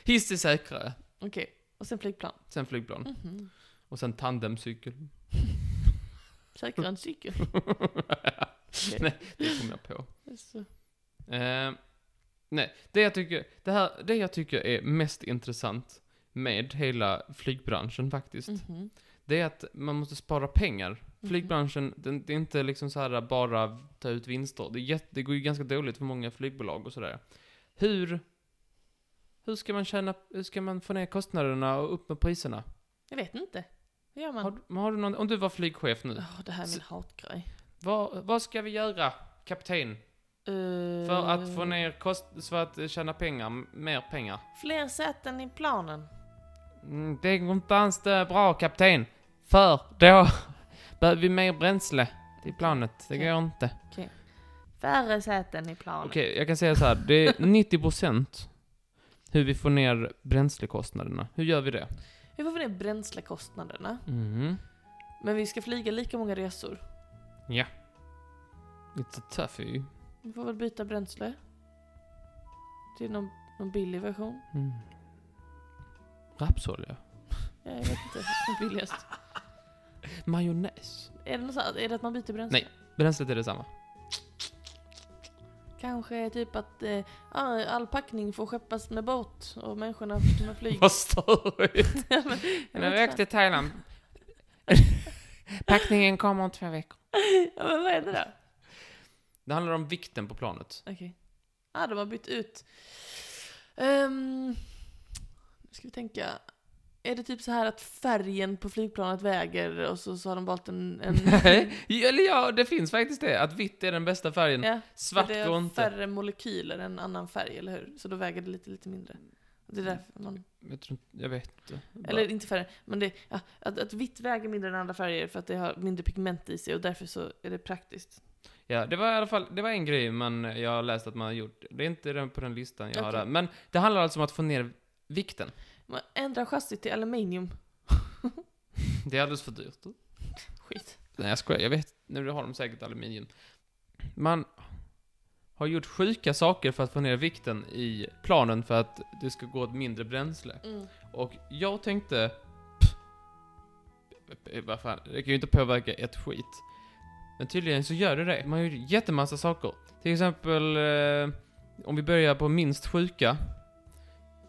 Hiss är säkrare.
Okej. Och sen flygplan?
Sen flygplan.
Mhm.
Och sen tandemcykel.
Säkrare än cykel?
Nej, det kom jag på.
Jaså.
Eh, nej, det jag, tycker, det, här, det jag tycker är mest intressant med hela flygbranschen faktiskt.
Mhm.
Det är att man måste spara pengar.
Mhm.
Flygbranschen, den, det är inte liksom så här bara ta ut vinster. Det, är jätte, det går ju ganska dåligt för många flygbolag och sådär. Hur, hur ska man tjäna, hur ska man få ner kostnaderna och upp med priserna?
Jag vet inte. Hur gör man?
Har, du- har du någon, om du var flygchef nu,
Åh, det här är min
Så-
hatgrej.
vad, vad ska vi göra, kapten,
Eh,
för att få ner kost, för att eh, tjäna pengar, m- mer pengar?
Fler säten i planen.
Mm, det går inte alls det bra, kapten. För då behöver vi mer bränsle till planet. Det går inte.
Färre säten i planen.
Okej, jag kan säga så här. Det är 90% hur vi får ner bränslekostnaderna. Hur gör vi det?
Vi får få ner bränslekostnaderna.
Mm.
Men vi ska flyga lika många resor.
It's a toughie.
Vi får väl byta bränsle. Till någon, någon billig version.
Mm. Rapsolja.
Ja, Jag vet inte. Den billigaste.
Majonnäs.
Är det något sånt? Är det att man byter bränsle?
Nej. Bränslet är detsamma.
Kanske typ att eh, all all packning får skeppas med båt och människorna med flyg.
Vad störigt.
Ja, men- jag
Nu
vet
rök till Thailand. Packningen kommer om två veckor.
inte. Ja, men vad är det då?
Det handlar om vikten på planet.
Okej. Ah, de har bytt ut. Ehm, nu ska vi tänka. Är det typ så här att färgen på flygplanet väger och så, så har de valt en... en
Nej, eller ja, det finns faktiskt det. Att vitt är den bästa färgen.
ja, för
Svart
det
går
är
inte.
färre molekyler än annan färg, eller hur? Så då väger det lite, lite mindre. Det är därför man...
Jag, tror, inte- jag vet inte.
Eller inte färger, men det, ja, att, att vitt väger mindre än andra färger för att det har mindre pigment i sig och därför så är det praktiskt.
Ja, det var i alla fall, det var en grej man, jag har läst att man har gjort. Det är inte den på den listan jag har
Okej.
där. Men det handlar alltså om att få ner vikten.
Man ändrar chassit till aluminium.
Det är alldeles för dyrt.
Skit.
Nej, jag skojar. Jag vet, nu har de säkert aluminium. Man har gjort sjuka saker för att få ner vikten i planen för att det ska gå åt mindre bränsle.
Mm.
Och jag tänkte... pff, eh, Vad fan, det kan ju inte påverka ett skit. Men tydligen så gör det det. Man gör ju jättemassa saker. Till exempel, eh, om vi börjar på minst sjuka.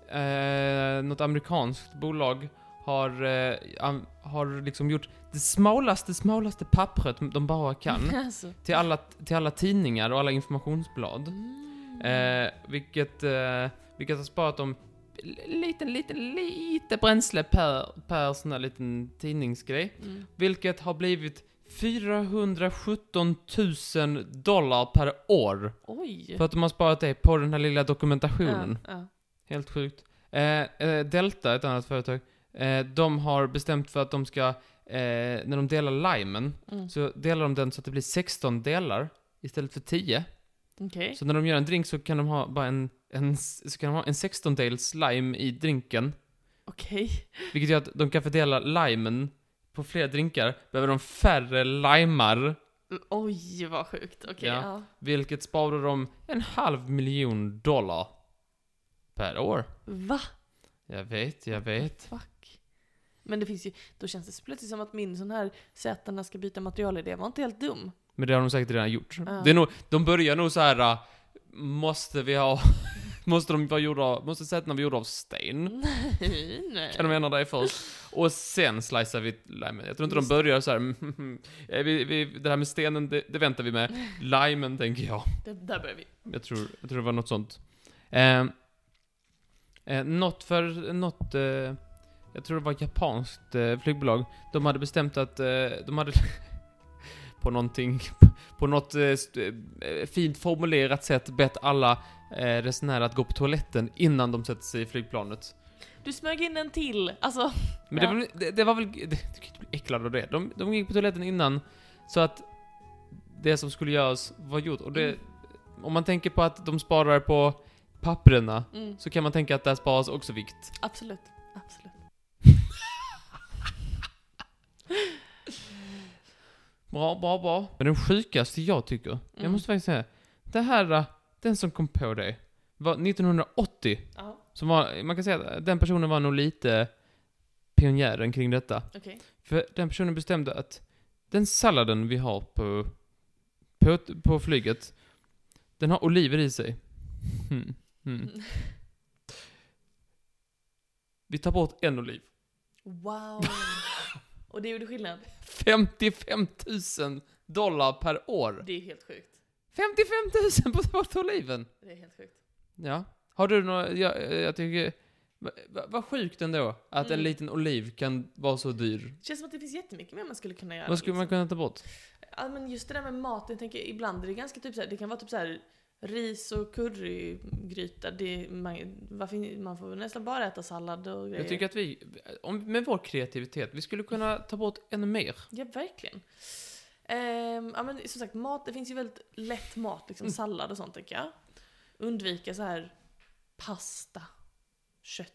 Eh, något amerikanskt bolag har, eh, an- har liksom gjort det smalaste, smalaste pappret de bara kan.
alltså.
till, alla, till alla tidningar och alla informationsblad.
Mm.
Eh, vilket, eh, vilket har sparat dem l- liten, liten, lite bränsle per, per sån här liten tidningsgrej.
Mm.
Vilket har blivit 417 000 dollar per år.
Oj.
För att de har sparat det på den här lilla dokumentationen.
Ja,
Helt sjukt. Eh, eh, Delta, ett annat företag, eh, de har bestämt för att de ska, eh, när de delar limen,
ja. Mm.
så delar de den så att det blir 16 delar istället för 10.
Okej.
Så när de gör en drink så kan de ha bara en, en, så kan de ha en 16-dels lime i drinken.
Okej.
Vilket gör att de kan fördela limen på fler drinkar. Behöver de färre limar.
Mm, Oj, vad sjukt. Okej.
Ja.
ja.
Vilket sparar dem en halv miljon dollar. Per år.
Va?
Jag vet, jag vet.
Fuck. Men det finns ju, då känns det så plötsligt som att min sån här sätarna ska byta material i det var inte helt dum.
Men det har de säkert redan gjort.
Ja.
Det är nog, de börjar nog så här. äh, Måste vi ha... måste de vara gjorda av... Måste sätena vara gjorda av sten?
Nej, nej.
Kan de ändra det först? Och sen slicear vi limen. Jag tror inte
Just
de börjar så här. "Mm, eh, Vi, vi, det här med stenen, det, det väntar vi med. Limen tänker jag.
Det, där börjar vi.
Jag tror, jag tror det var något sånt. Eh, eh, något för, något, eh, jag tror det var japanskt eh, flygbolag. De hade bestämt att eh, de hade på någonting, på något eh, st- eh, fint formulerat sätt bett alla eh, resenärer att gå på toaletten innan de sätter sig i flygplanet.
Du smög in en till. Alltså,
Men det,
Ja.
var, det, det var väl... Det, du kan inte bli äcklad av det. De, de gick på toaletten innan, så att det som skulle göras var gjort. Och det,
Mm.
om man tänker på att de sparar på papperna,
mm,
så kan man tänka att där sparas också vikt.
absolut. Absolut.
Bra, bra, bra. Men den sjukaste jag tycker, jag
Mm.
måste faktiskt säga, det här, äh, den som kom på det, var 1980.
Ja,
Som var, man kan säga att den personen var nog lite pionjären kring detta.
okej.
För den personen bestämde att den salladen vi har på, på, på flyget, den har oliver i sig. Hmm. Hmm. Vi tar bort en oliv.
Wow. Och det gjorde skillnad.
55 000 dollar per år.
Det är helt sjukt.
55 000 på att ta bort oliven.
Det är helt sjukt.
Ja. Har du några, jag, jag tycker, va- va- vad sjukt ändå att en
Mm.
liten oliv kan vara så dyr.
Det känns som att det finns jättemycket mer man skulle kunna göra.
Vad skulle man
liksom.
kunna ta bort?
Ja, men just det där med mat, jag tänker ibland är det ganska typ så här, det kan vara typ så här ris och currygryta. Det, man, varför, man får nästan bara äta sallad och grejer.
Jag tycker att vi, om, med vår kreativitet, vi skulle kunna ta bort ännu mer.
Ja, verkligen. Ehm, ja, men som sagt, mat, det finns ju väldigt lätt mat, liksom
Mm.
sallad och sånt tänker jag. Undvika så här pasta, kött.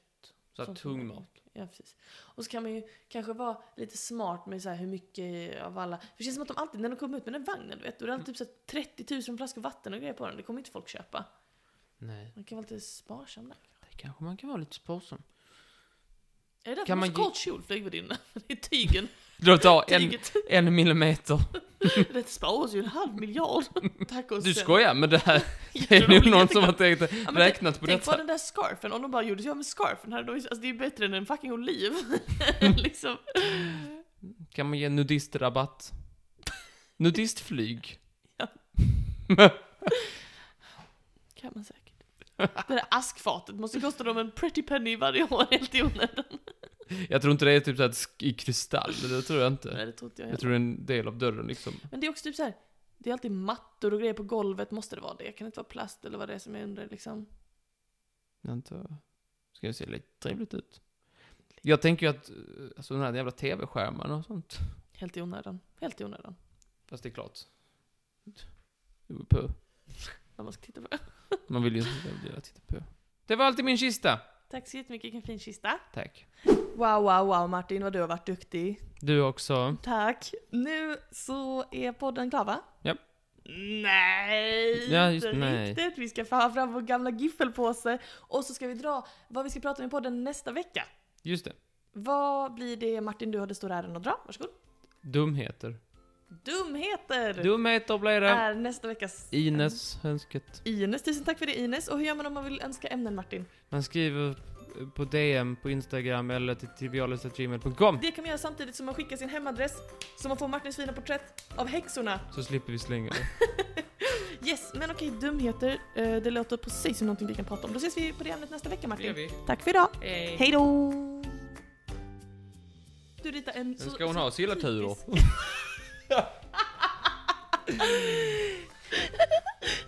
Så här
sånt
tung
som-
mat.
Ja, precis. Och så kan man ju kanske vara lite smart med så här hur mycket av alla... För det känns som att de alltid, när de kommer ut med den vagnen, du vet, då är det alltid typ så här 30 000 flaskor vatten och grejer på den. Det kommer inte folk köpa.
Nej,
Man kan vara lite sparsam där.
det kanske man kan vara lite sparsam.
Är det därför
Kan
man
man
har så
ge-
kort kjolflyg på din? Det är tygen.
Då tar en,
Tyget.
en millimeter.
Det sparas ju en halv miljard. Tack och
Du
sen.
skojar, men det här det är nog någon som har
Jätteroligt.
tänkt,
Ja, men tänk-
räknat på
Tänk på
detta.
den där scarfen, om de bara gjorde sig av med scarfen här då, alltså det är ju bättre än en fucking oliv. liksom.
Kan man ge nudistrabatt? Nudistflyg?
Kan man säkert. Det där askfatet måste kosta dem en pretty penny varje år helt i onödan.
Jag tror inte det är typ så här sk- i kristall, det tror jag
Nej
inte.
det tror inte jag
Jag
heller.
tror det är en del av dörren liksom.
Men det är också typ så här. det är alltid mattor och grejer på golvet, måste det vara det? Kan det inte vara plast eller vad det är som jag undrar liksom?
Jag antar- Ska ju se lite trevligt ut. Jag tänker ju att, eh, alltså den här jävla tv-skärmen och sånt.
Helt i onödan. Helt i onödan.
Fast det är klart. Upphö.
När man ska titta på.
Man vill ju inte vilja titta på. Det var alltid min kista.
Tack så jättemycket, vilken fin kista.
Tack.
Wow, wow, wow Martin, vad du har varit duktig.
Du också.
Tack. Nu så är podden klar va?
Ja.
Nej,
Ja, just-
inte
nej.
riktigt. Vi ska få fram vår gamla giffelpåse och så ska vi dra vad vi ska prata om i podden nästa vecka.
Just det.
Vad blir det Martin, du har den stora äran att dra? Varsågod.
Dumheter.
Dumheter
Dumheter blir det.
är nästa veckas
Ines önsket.
Ines, tusen tack för det Ines. Och hur gör man om man vill önska ämnen Martin?
Man skriver på DM på Instagram eller till trivialist.gmail.com
Det kan man göra samtidigt som man skickar sin hemadress så man får Martins fina porträtt av häxorna.
så slipper vi slänga det.
Yes, men okej, dumheter. Eh, Det låter precis som någonting vi kan prata om. Då ses vi på det ämnet nästa vecka
Det gör
Martin.
vi.
Tack för idag.
Hej.
Hej då! Du ritar en...
Nu ska hon ha sillaturer.
typisk-